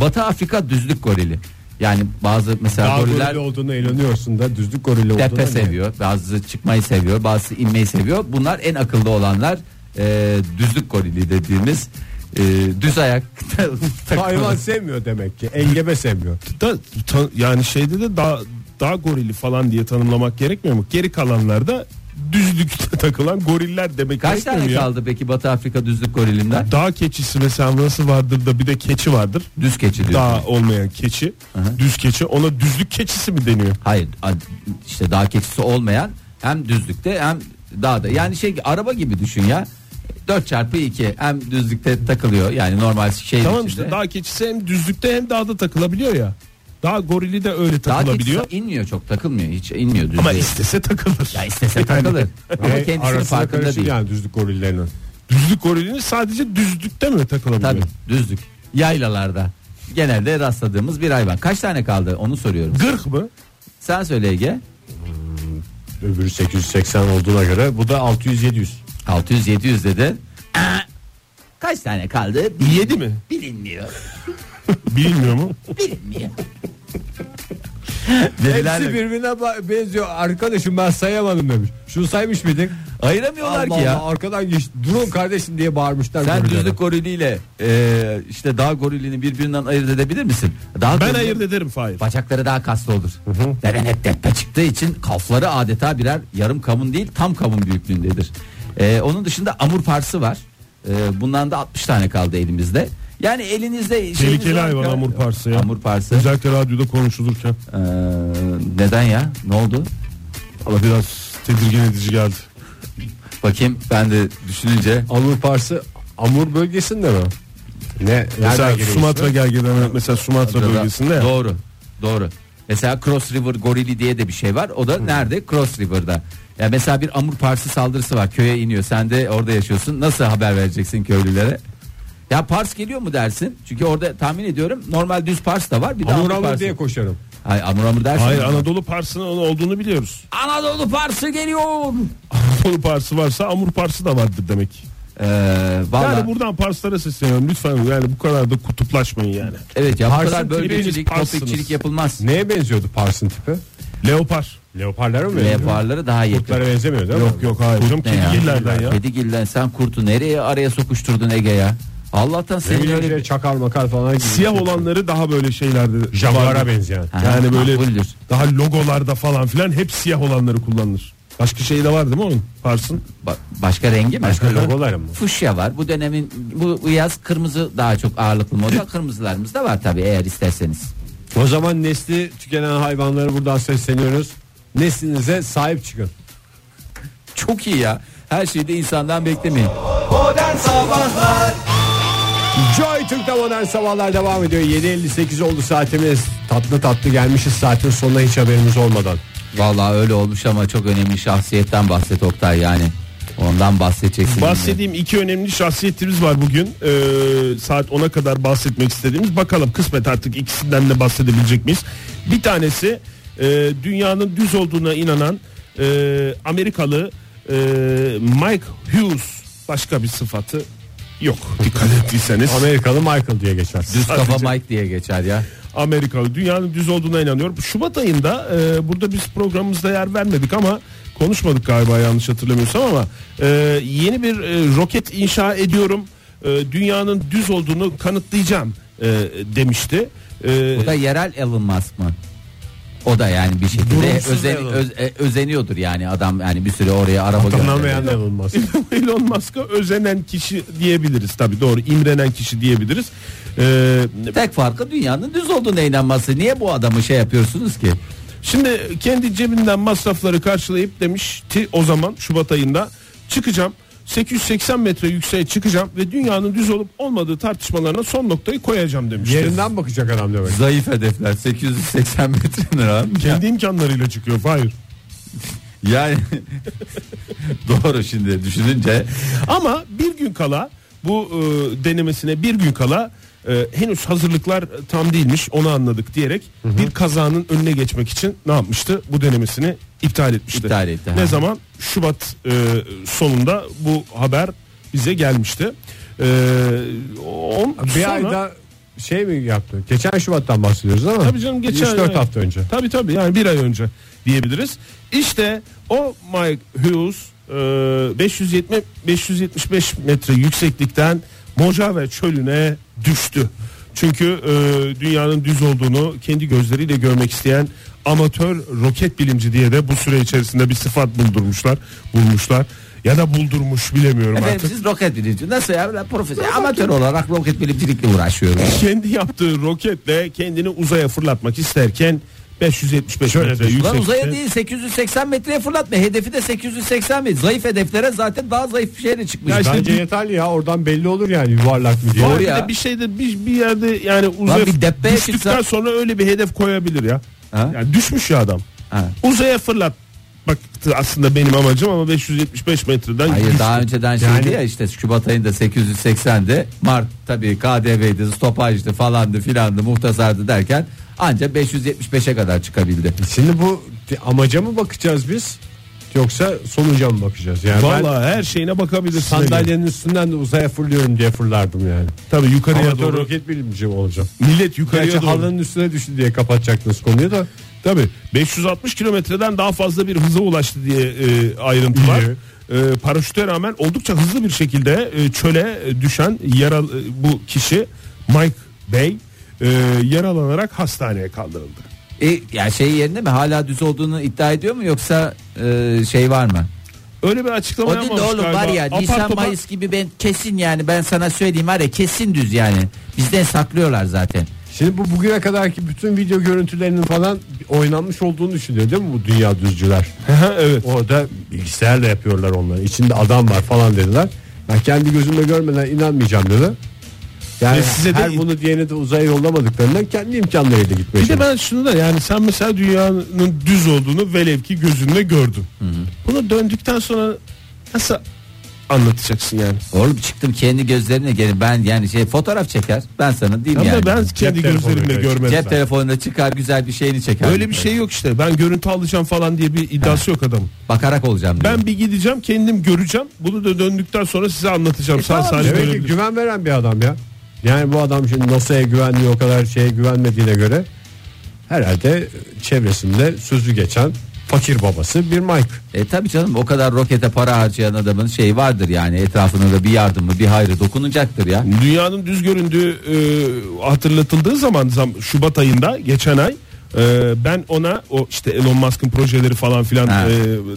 Speaker 4: Batı Afrika düzlük gorili. Yani bazı mesela
Speaker 3: Dağ
Speaker 4: goriller
Speaker 3: gorili olduğuna eğleniyorsun da düzlük gorili olduğuna.
Speaker 4: tepe
Speaker 3: ne?
Speaker 4: seviyor. Bazısı çıkmayı seviyor. Bazısı inmeyi seviyor. Bunlar en akıllı olanlar. Ee, düzlük gorili dediğimiz e, düz ayak takılı.
Speaker 3: Hayvan sevmiyor demek ki. Engebe sevmiyor.
Speaker 5: Da, ta- yani şeyde de dağ, dağ gorili falan diye tanımlamak gerekmiyor mu? Geri kalanlarda düzlükte takılan goriller demek
Speaker 4: Kaç
Speaker 5: gerekmiyor
Speaker 4: tane
Speaker 5: mu ya?
Speaker 4: kaldı peki Batı Afrika düzlük gorilinden?
Speaker 5: Dağ keçisi mesela nasıl vardır da bir de keçi vardır.
Speaker 4: Düz keçi diyor.
Speaker 5: Dağ olmayan keçi, düz keçi. Ona düzlük keçisi mi deniyor?
Speaker 4: Hayır a- işte dağ keçisi olmayan hem düzlükte hem dağda. Yani şey araba gibi düşün ya. 4 çarpı 2 hem düzlükte takılıyor yani normal şey
Speaker 5: Tamam
Speaker 4: içinde.
Speaker 5: işte dağ keçisi hem düzlükte hem dağda takılabiliyor ya. Dağ gorili de öyle
Speaker 4: Dağ keçisi
Speaker 5: takılabiliyor.
Speaker 4: inmiyor çok takılmıyor hiç inmiyor düzlüğe.
Speaker 5: Ama istese takılır.
Speaker 4: ya istese takılır. Ama
Speaker 3: Ve
Speaker 4: kendisinin
Speaker 3: arasına
Speaker 4: farkında
Speaker 3: karışık
Speaker 4: değil.
Speaker 3: Yani düzlük gorillerinin.
Speaker 5: Düzlük gorilini sadece düzlükte mi takılabiliyor?
Speaker 4: Tabii düzlük. Yaylalarda genelde rastladığımız bir hayvan. Kaç tane kaldı onu soruyorum.
Speaker 5: Gırk mı?
Speaker 4: Sen söyle Ege.
Speaker 3: Öbürü 880 olduğuna göre bu da 600-700.
Speaker 4: 600 700 dedi. Aa, Kaç tane kaldı?
Speaker 5: Yedi mi?
Speaker 4: Bilinmiyor.
Speaker 5: Bilmiyor mu?
Speaker 4: Bilinmiyor.
Speaker 3: Hepsi
Speaker 4: Dediler mi?
Speaker 3: birbirine ba- benziyor. Arkadaşım ben sayamadım demiş. Şunu saymış mıydın?
Speaker 4: Ayıramıyorlar ki ya.
Speaker 3: Allah, arkadan geç. Durun kardeşim diye bağırmışlar.
Speaker 4: Sen
Speaker 3: birbirlerine.
Speaker 4: düzlük goriliyle e, işte dağ gorilini birbirinden ayırt edebilir misin? Dağ
Speaker 5: Ben
Speaker 4: gorili-
Speaker 5: ayırt ederim Fahir.
Speaker 4: Bacakları daha kaslı olur. Beren hep tepe çıktığı için kalfları adeta birer yarım kavun değil tam kavun büyüklüğündedir. E, onun dışında amur parsı var. E, bundan da 60 tane kaldı elimizde. Yani elinizde şeyiniz
Speaker 5: Tehlikeli
Speaker 4: var-
Speaker 5: hayvan amur parsı ya.
Speaker 4: Amur parsı.
Speaker 5: Özellikle radyoda konuşulurken.
Speaker 4: E, neden ya? Ne oldu?
Speaker 5: Ama biraz tedirgin edici geldi.
Speaker 4: Bakayım ben de düşününce
Speaker 3: Amur Parsı Amur bölgesinde mi? Ne?
Speaker 5: Mesela
Speaker 3: Nereden geliyor
Speaker 5: Sumatra
Speaker 3: ismi?
Speaker 5: gergedanı mesela Sumatra bölgesinde ya.
Speaker 4: Doğru. Doğru. Mesela Cross River gorili diye de bir şey var. O da
Speaker 5: Hmm.
Speaker 4: nerede? Cross River'da. Ya mesela bir amur parsı saldırısı var. Köye iniyor. Sen de orada yaşıyorsun. Nasıl haber vereceksin köylülere? Ya pars geliyor mu dersin? Çünkü orada tahmin ediyorum normal düz pars da var. Bir de
Speaker 3: Amur
Speaker 4: amur,
Speaker 3: Amur
Speaker 4: parsı.
Speaker 3: diye koşarım.
Speaker 4: Hayır, amur amur dersin.
Speaker 5: Hayır
Speaker 4: mi?
Speaker 5: Anadolu Parsı'nın onu olduğunu biliyoruz.
Speaker 4: Anadolu parsı geliyor.
Speaker 5: Anadolu Parsı varsa Amur Parsı da vardır demek.
Speaker 4: Ee, vallahi,
Speaker 5: Yani buradan Parslara sesleniyorum lütfen yani bu kadar da kutuplaşmayın yani.
Speaker 4: evet ya bu
Speaker 5: Parsın
Speaker 4: kadar
Speaker 5: tipiniz
Speaker 4: bölgecilik,
Speaker 5: parsınız.
Speaker 4: topikçilik yapılmaz.
Speaker 3: Neye benziyordu Pars'ın tipi?
Speaker 5: Leopar.
Speaker 3: Leoparlara mı benziyor?
Speaker 4: Leoparları daha iyi.
Speaker 3: Kurtlara benzemiyor değil mi?
Speaker 5: Yok yok hayır. Canım
Speaker 4: Ne ya?
Speaker 5: kedigillerden ya.
Speaker 4: Kedigilden sen kurtu nereye araya sokuşturdun Ege ya? Allah'tan
Speaker 3: Ne
Speaker 4: senin
Speaker 3: bileyim
Speaker 4: öyle
Speaker 3: şey, çakal makal falan gibi. şey.
Speaker 5: Siyah olanları daha böyle şeylerde.
Speaker 3: Jaguara
Speaker 5: vardır.
Speaker 3: benzeyen.
Speaker 4: Ha,
Speaker 5: Yani böyle
Speaker 4: makbuldür.
Speaker 5: daha logolarda falan filan hep siyah olanları kullanılır. Başka şey de var değil mi onun? Parsın.
Speaker 4: Ba- başka rengi mi?
Speaker 3: Başka logolar mı?
Speaker 4: Fuşya var. Bu dönemin bu, bu yaz kırmızı daha çok ağırlıklı moda. Kırmızılarımız da var tabii eğer isterseniz.
Speaker 3: O zaman nesli tükenen hayvanlara buradan sesleniyoruz. Neslinize sahip çıkın.
Speaker 4: Çok iyi ya. Her şeyi de insandan beklemeyin.
Speaker 2: Modern Sabahlar
Speaker 3: Joy Türk'te modern sabahlar devam ediyor. 7.58 oldu saatimiz. Tatlı tatlı gelmişiz saatin sonuna hiç haberimiz olmadan.
Speaker 4: Vallahi öyle olmuş ama çok önemli şahsiyetten bahset Oktay yani. Ondan bahsedeceksin.
Speaker 5: Bahsettiğim iki önemli şahsiyetimiz var bugün. Ee, saat 10'a kadar bahsetmek istediğimiz. Bakalım kısmet artık ikisinden de bahsedebilecek miyiz? Bir tanesi e, dünyanın düz olduğuna inanan e, Amerikalı e, Mike Hughes. Başka bir sıfatı yok. Dikkat ettiyseniz.
Speaker 3: Amerikalı Michael diye geçer.
Speaker 4: Düz kafa
Speaker 5: Sadece-
Speaker 4: Mike diye geçer ya.
Speaker 5: Amerikalı dünyanın düz olduğuna inanıyorum. Şubat ayında e, burada biz programımızda yer vermedik ama konuşmadık galiba yanlış hatırlamıyorsam ama e, yeni bir e, roket inşa ediyorum. E, dünyanın düz olduğunu kanıtlayacağım e, demişti. E,
Speaker 4: Bu da yerel Elon Musk mı? O da yani bir şekilde
Speaker 5: Durumsuz
Speaker 4: özen,
Speaker 5: Elon.
Speaker 4: öz- e, özeniyordur yani adam yani bir süre oraya araba gönderiyor.
Speaker 3: Anlamayan da bulmaz.
Speaker 5: Elon Musk'a özenen kişi diyebiliriz tabii doğru imrenen kişi diyebiliriz. E,
Speaker 4: Tek farkı dünyanın düz olduğuna inanması. Niye bu adamı şey yapıyorsunuz ki?
Speaker 5: Şimdi kendi cebinden masrafları karşılayıp demişti o zaman Şubat ayında çıkacağım 880 metre yükseğe çıkacağım ve dünyanın düz olup olmadığı tartışmalarına son noktayı koyacağım demişti.
Speaker 3: Yerinden bakacak adam demek.
Speaker 4: Zayıf hedefler 880 metrenin abi.
Speaker 5: kendi imkanlarıyla çıkıyor. Hayır.
Speaker 4: Yani doğru şimdi düşününce
Speaker 5: Ama bir gün kala bu e, denemesine bir gün kala e, henüz hazırlıklar tam değilmiş onu anladık diyerek bir kazanın önüne geçmek için ne yapmıştı? Bu denemesini iptal etmişti.
Speaker 4: İptal etti,
Speaker 5: Ne
Speaker 4: ha.
Speaker 5: zaman? Şubat e, sonunda bu haber bize gelmişti. E, on,
Speaker 3: Bir
Speaker 5: sonra-
Speaker 3: ayda şey mi yaptı? Geçen Şubat'tan bahsediyoruz ama.
Speaker 5: Tabii canım geçen
Speaker 3: 3-4 hafta önce.
Speaker 5: Tabii tabii yani bir ay önce diyebiliriz. İşte o Mike Hughes e, 570 575 metre yükseklikten Mojave çölüne düştü. Çünkü e, dünyanın düz olduğunu kendi gözleriyle görmek isteyen amatör roket bilimci diye de bu süre içerisinde bir sıfat buldurmuşlar, bulmuşlar ya da buldurmuş bilemiyorum
Speaker 4: Efendim
Speaker 5: artık.
Speaker 4: siz roket bilimci nasıl ya Ben profesyonel amatör olarak roket bilimcilikle uğraşıyorum.
Speaker 5: Kendi yaptığı roketle kendini uzaya fırlatmak isterken 575
Speaker 3: Şöyle
Speaker 5: metre
Speaker 3: de- Ulan
Speaker 4: Ulan
Speaker 5: yükseklikte.
Speaker 4: uzaya değil 880 metreye fırlatma hedefi de 880 metre zayıf hedeflere zaten daha zayıf bir şeyle çıkmış.
Speaker 5: Ya işte
Speaker 3: Bence
Speaker 5: bir-
Speaker 3: yeterli ya oradan belli olur yani yuvarlak mı diye.
Speaker 4: Doğru
Speaker 5: Var bir
Speaker 4: ya.
Speaker 5: de bir şeyde bir, bir yerde yani uzaya
Speaker 4: Lan bir depreye
Speaker 5: düştükten
Speaker 4: çıksa-
Speaker 5: sonra öyle bir hedef koyabilir ya.
Speaker 4: Ha?
Speaker 5: Yani düşmüş ya adam.
Speaker 4: Ha.
Speaker 5: Uzaya fırlat. Bak aslında benim amacım ama 575 metreden
Speaker 4: Hayır
Speaker 5: düştü.
Speaker 4: daha önceden şeydi
Speaker 3: Yani-
Speaker 4: ya işte Şubat ayında 880'di. Mart tabii KDV'ydi, stopajdı falandı filandı, muhtasardı derken anca 575'e kadar çıkabildi.
Speaker 3: Şimdi bu amaca mı bakacağız biz? Yoksa sonuca mı bakacağız? Yani ben
Speaker 5: Vallahi her şeyine bakabilirsin.
Speaker 3: sandalyenin üstünden de uzaya fırlıyorum diye fırlardım yani.
Speaker 5: tabii yukarıya
Speaker 3: Amatör
Speaker 5: doğru.
Speaker 3: roket bilimci olacağım.
Speaker 5: Millet yukarıya
Speaker 3: Gerçi
Speaker 5: doğru.
Speaker 3: halının üstüne düştü diye kapatacaktınız konuyu da.
Speaker 5: Tabii 560 kilometreden daha fazla bir hıza ulaştı diye e, ayrıntı var.
Speaker 3: İyi.
Speaker 5: E, paraşüte rağmen oldukça hızlı bir şekilde e, çöle e, düşen yaralı e, bu kişi Mike Bey e, yaralanarak hastaneye kaldırıldı.
Speaker 4: E, ya şey yerinde mi hala düz olduğunu iddia ediyor mu yoksa e, şey var mı?
Speaker 5: Öyle bir açıklama
Speaker 4: O değil de
Speaker 5: yapmamış
Speaker 4: oğlum
Speaker 5: galiba.
Speaker 4: var ya
Speaker 5: Apar
Speaker 4: Nisan
Speaker 5: topar-
Speaker 4: Mayıs gibi ben kesin yani ben sana söyleyeyim var ya kesin düz yani. Bizden saklıyorlar zaten.
Speaker 3: Şimdi bu bugüne kadarki bütün video görüntülerinin falan oynanmış olduğunu düşünüyor değil mi bu dünya düzcüler?
Speaker 5: evet.
Speaker 3: Orada bilgisayarla yapıyorlar onları. İçinde adam var falan dediler. Ben kendi gözümle görmeden inanmayacağım dedi. Yani
Speaker 5: Ve size de-
Speaker 3: her bunu diyene de uzaya yollamadıklarından kendi imkanlarıyla gitmeye
Speaker 5: Bir de
Speaker 3: çalışıyor.
Speaker 5: ben şunu da yani sen mesela dünyanın düz olduğunu velev ki gözünle gördün. Bunu döndükten sonra nasıl anlatacaksın yani?
Speaker 4: Oğlum çıktım kendi gözlerimle gelin ben yani şey fotoğraf çeker ben sana diyeyim
Speaker 5: Ama
Speaker 4: yani.
Speaker 5: ben kendi
Speaker 3: telefonuyla
Speaker 5: gözlerimle
Speaker 3: işte.
Speaker 5: görmedim.
Speaker 4: Cep telefonuna çıkar güzel bir şeyini çeker.
Speaker 5: Öyle bir şey yok işte. Ben görüntü alacağım falan diye bir iddiası yok adamın.
Speaker 4: Bakarak olacağım diyor.
Speaker 5: Ben bir gideceğim kendim göreceğim. Bunu da döndükten sonra size anlatacağım. Sen
Speaker 4: E tamam,
Speaker 5: saniye
Speaker 3: Demek ki
Speaker 5: görebilirsin.
Speaker 3: güven veren bir adam ya. Yani bu adam şimdi NASA'ya güvendiği o kadar şeye güvenmediğine göre herhalde çevresinde sözü geçen fakir babası bir Mike.
Speaker 4: E tabi canım o kadar rokete para harcayan adamın şeyi vardır yani etrafına da bir yardımı bir hayrı dokunacaktır ya.
Speaker 5: Dünyanın düz göründüğü e, hatırlatıldığı zaman zam- Şubat ayında geçen ay e, ben ona o işte Elon Musk'ın projeleri falan filan
Speaker 4: Ha.
Speaker 5: e,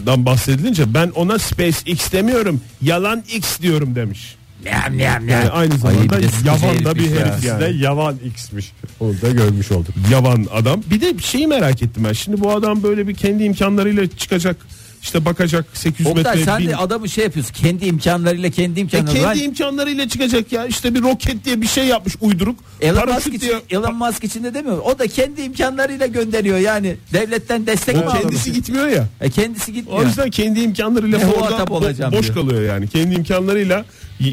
Speaker 5: dan bahsedilince ben ona SpaceX demiyorum yalan X diyorum demiş.
Speaker 4: Nyam, nyam, nyam.
Speaker 5: Yani aynı zamanda
Speaker 4: bir de sıkıcı
Speaker 5: yavan şey da bir
Speaker 4: herifmiş ya.
Speaker 5: herif yani.
Speaker 3: İkisi de yavan X'miş. Onu da görmüş olduk.
Speaker 5: yavan adam. Bir de bir şeyi merak ettim ben. Şimdi bu adam böyle bir kendi imkanlarıyla çıkacak. işte bakacak 800
Speaker 4: Oktay
Speaker 5: metre.
Speaker 4: sen
Speaker 5: bin-
Speaker 4: de adamı şey yapıyorsun kendi imkanlarıyla kendi
Speaker 5: E,
Speaker 4: imkanlarıyla.
Speaker 5: kendi imkanlarıyla çıkacak ya. İşte bir roket diye bir şey yapmış uyduruk.
Speaker 4: Elon
Speaker 5: Paraşüt
Speaker 4: Musk, için,
Speaker 5: diye-
Speaker 4: Elon Musk için de demiyor. O da kendi imkanlarıyla gönderiyor yani. Devletten destek mi
Speaker 5: O kendisi
Speaker 4: alıyor?
Speaker 5: gitmiyor ya.
Speaker 4: E, kendisi
Speaker 5: O
Speaker 4: gitmiyor.
Speaker 5: yüzden kendi imkanlarıyla
Speaker 4: Ne
Speaker 5: orada
Speaker 4: muhatap
Speaker 5: bo-
Speaker 4: olacağım
Speaker 5: boş
Speaker 4: diyor.
Speaker 5: kalıyor yani. Kendi imkanlarıyla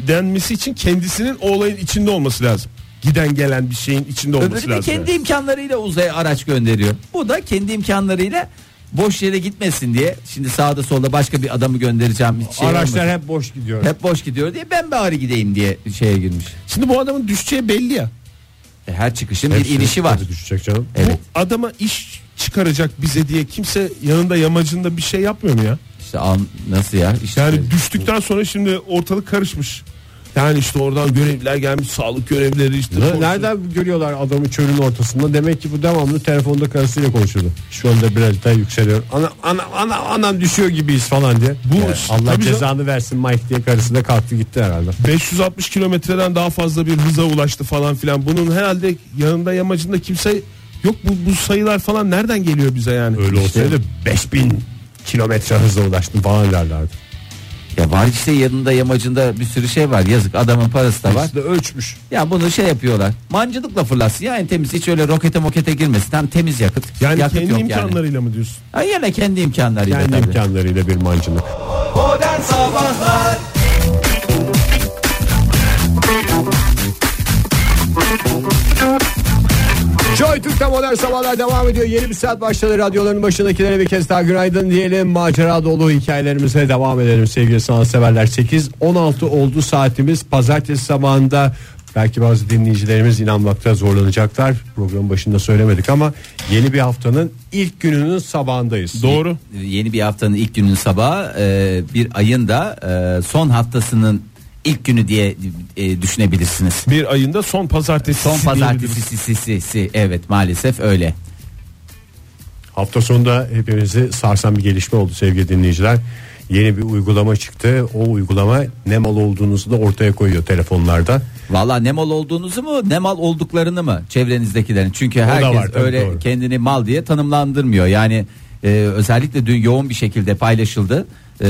Speaker 5: denmesi için kendisinin o olayın içinde olması lazım. Giden gelen bir şeyin içinde olması
Speaker 4: Öbürü de
Speaker 5: lazım.
Speaker 4: kendi
Speaker 5: yani.
Speaker 4: imkanlarıyla uzaya araç gönderiyor. Bu da kendi imkanlarıyla boş yere gitmesin diye. Şimdi sağda solda başka bir adamı göndereceğim. hiç Şey
Speaker 3: Araçlar
Speaker 4: olmasın.
Speaker 3: hep boş gidiyor.
Speaker 4: hep boş gidiyor diye ben bari gideyim diye şeye girmiş.
Speaker 5: Şimdi bu adamın düşeceği belli ya.
Speaker 4: E, her çıkışın bir
Speaker 3: Hepsinin
Speaker 4: inişi var.
Speaker 3: tadı Düşecek canım.
Speaker 4: Evet.
Speaker 5: Bu adama iş çıkaracak bize diye kimse yanında yamacında bir şey yapmıyor mu ya?
Speaker 4: İşte an, nasıl ya? İşte
Speaker 5: Yani düştükten sonra şimdi ortalık karışmış. Yani işte oradan görevliler gelmiş, sağlık görevlileri işte.
Speaker 3: Ne-
Speaker 5: polis-
Speaker 3: Nereden görüyorlar adamı çölün ortasında? Demek ki bu devamlı telefonda karısıyla konuşuyordu. Şu anda biraz daha yükseliyor. Ana, ana, ana, anam düşüyor gibiyiz falan diye.
Speaker 5: Bu-
Speaker 3: Yani Allah
Speaker 5: tabii
Speaker 3: cezanı versin Mike diye karısı da kalktı gitti herhalde.
Speaker 5: 560 kilometreden daha fazla bir hıza ulaştı falan filan. Bunun herhalde yanında yamacında kimse yok bu, bu sayılar falan nereden geliyor bize yani?
Speaker 3: Öyle olsaydı 5000 kilometre hızla ulaştım falan derlerdi.
Speaker 4: Ya var işte yanında yamacında bir sürü şey var. Yazık adamın parası da var.
Speaker 3: Aslında ölçmüş.
Speaker 4: Ya bunu şey yapıyorlar. Mancılıkla fırlatsın ya en temiz hiç öyle rokete mokete girmesin. Hem temiz yakıt.
Speaker 5: Yani
Speaker 4: yakıt
Speaker 5: kendi
Speaker 4: yok
Speaker 5: imkanlarıyla mı diyorsun?
Speaker 4: Yani. Ha, yine kendi imkanlarıyla
Speaker 3: Kendi
Speaker 4: tabii.
Speaker 3: imkanlarıyla bir mancınık.
Speaker 2: Modern Sabahlar
Speaker 3: Joy Türk'te modern sabahlar devam ediyor. Yeni bir saat başladı. Radyoların başındakilere bir kez daha günaydın diyelim. Macera dolu hikayelerimize devam edelim sevgili sanatseverler. 8-16 oldu saatimiz. Pazartesi sabahında belki bazı dinleyicilerimiz inanmakta zorlanacaklar. Programın başında söylemedik ama yeni bir haftanın ilk gününün sabahındayız.
Speaker 5: Doğru.
Speaker 4: E, Yeni bir haftanın ilk gününün sabahı e, bir ayın da e, son haftasının ilk günü diye e, düşünebilirsiniz.
Speaker 5: Bir ayında son pazartesi.
Speaker 4: Son pazartesi si, si, si, si. evet maalesef öyle.
Speaker 3: Hafta sonunda hepimizi sarsan bir gelişme oldu sevgili dinleyiciler. Yeni bir uygulama çıktı. O uygulama ne mal olduğunuzu da ortaya koyuyor telefonlarda.
Speaker 4: Valla ne mal olduğunuzu mu ne mal olduklarını mı çevrenizdekilerin çünkü herkes
Speaker 3: var, tabii,
Speaker 4: öyle
Speaker 3: doğru.
Speaker 4: kendini mal diye tanımlandırmıyor yani e, özellikle dün yoğun bir şekilde paylaşıldı E,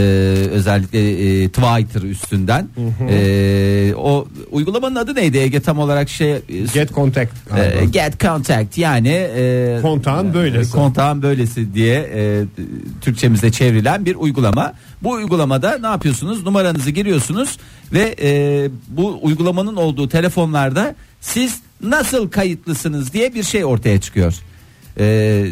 Speaker 4: özellikle e, Twitter üstünden E, o uygulamanın adı neydi Ege tam olarak şey e,
Speaker 3: Get contact.
Speaker 4: e, get contact yani e,
Speaker 3: Kontağın böylesi.
Speaker 4: kontağın böylesi diye e, Türkçemize çevrilen bir uygulama. Bu uygulamada ne yapıyorsunuz? Numaranızı giriyorsunuz ve e, bu uygulamanın olduğu telefonlarda siz nasıl kayıtlısınız diye bir şey ortaya çıkıyor. E,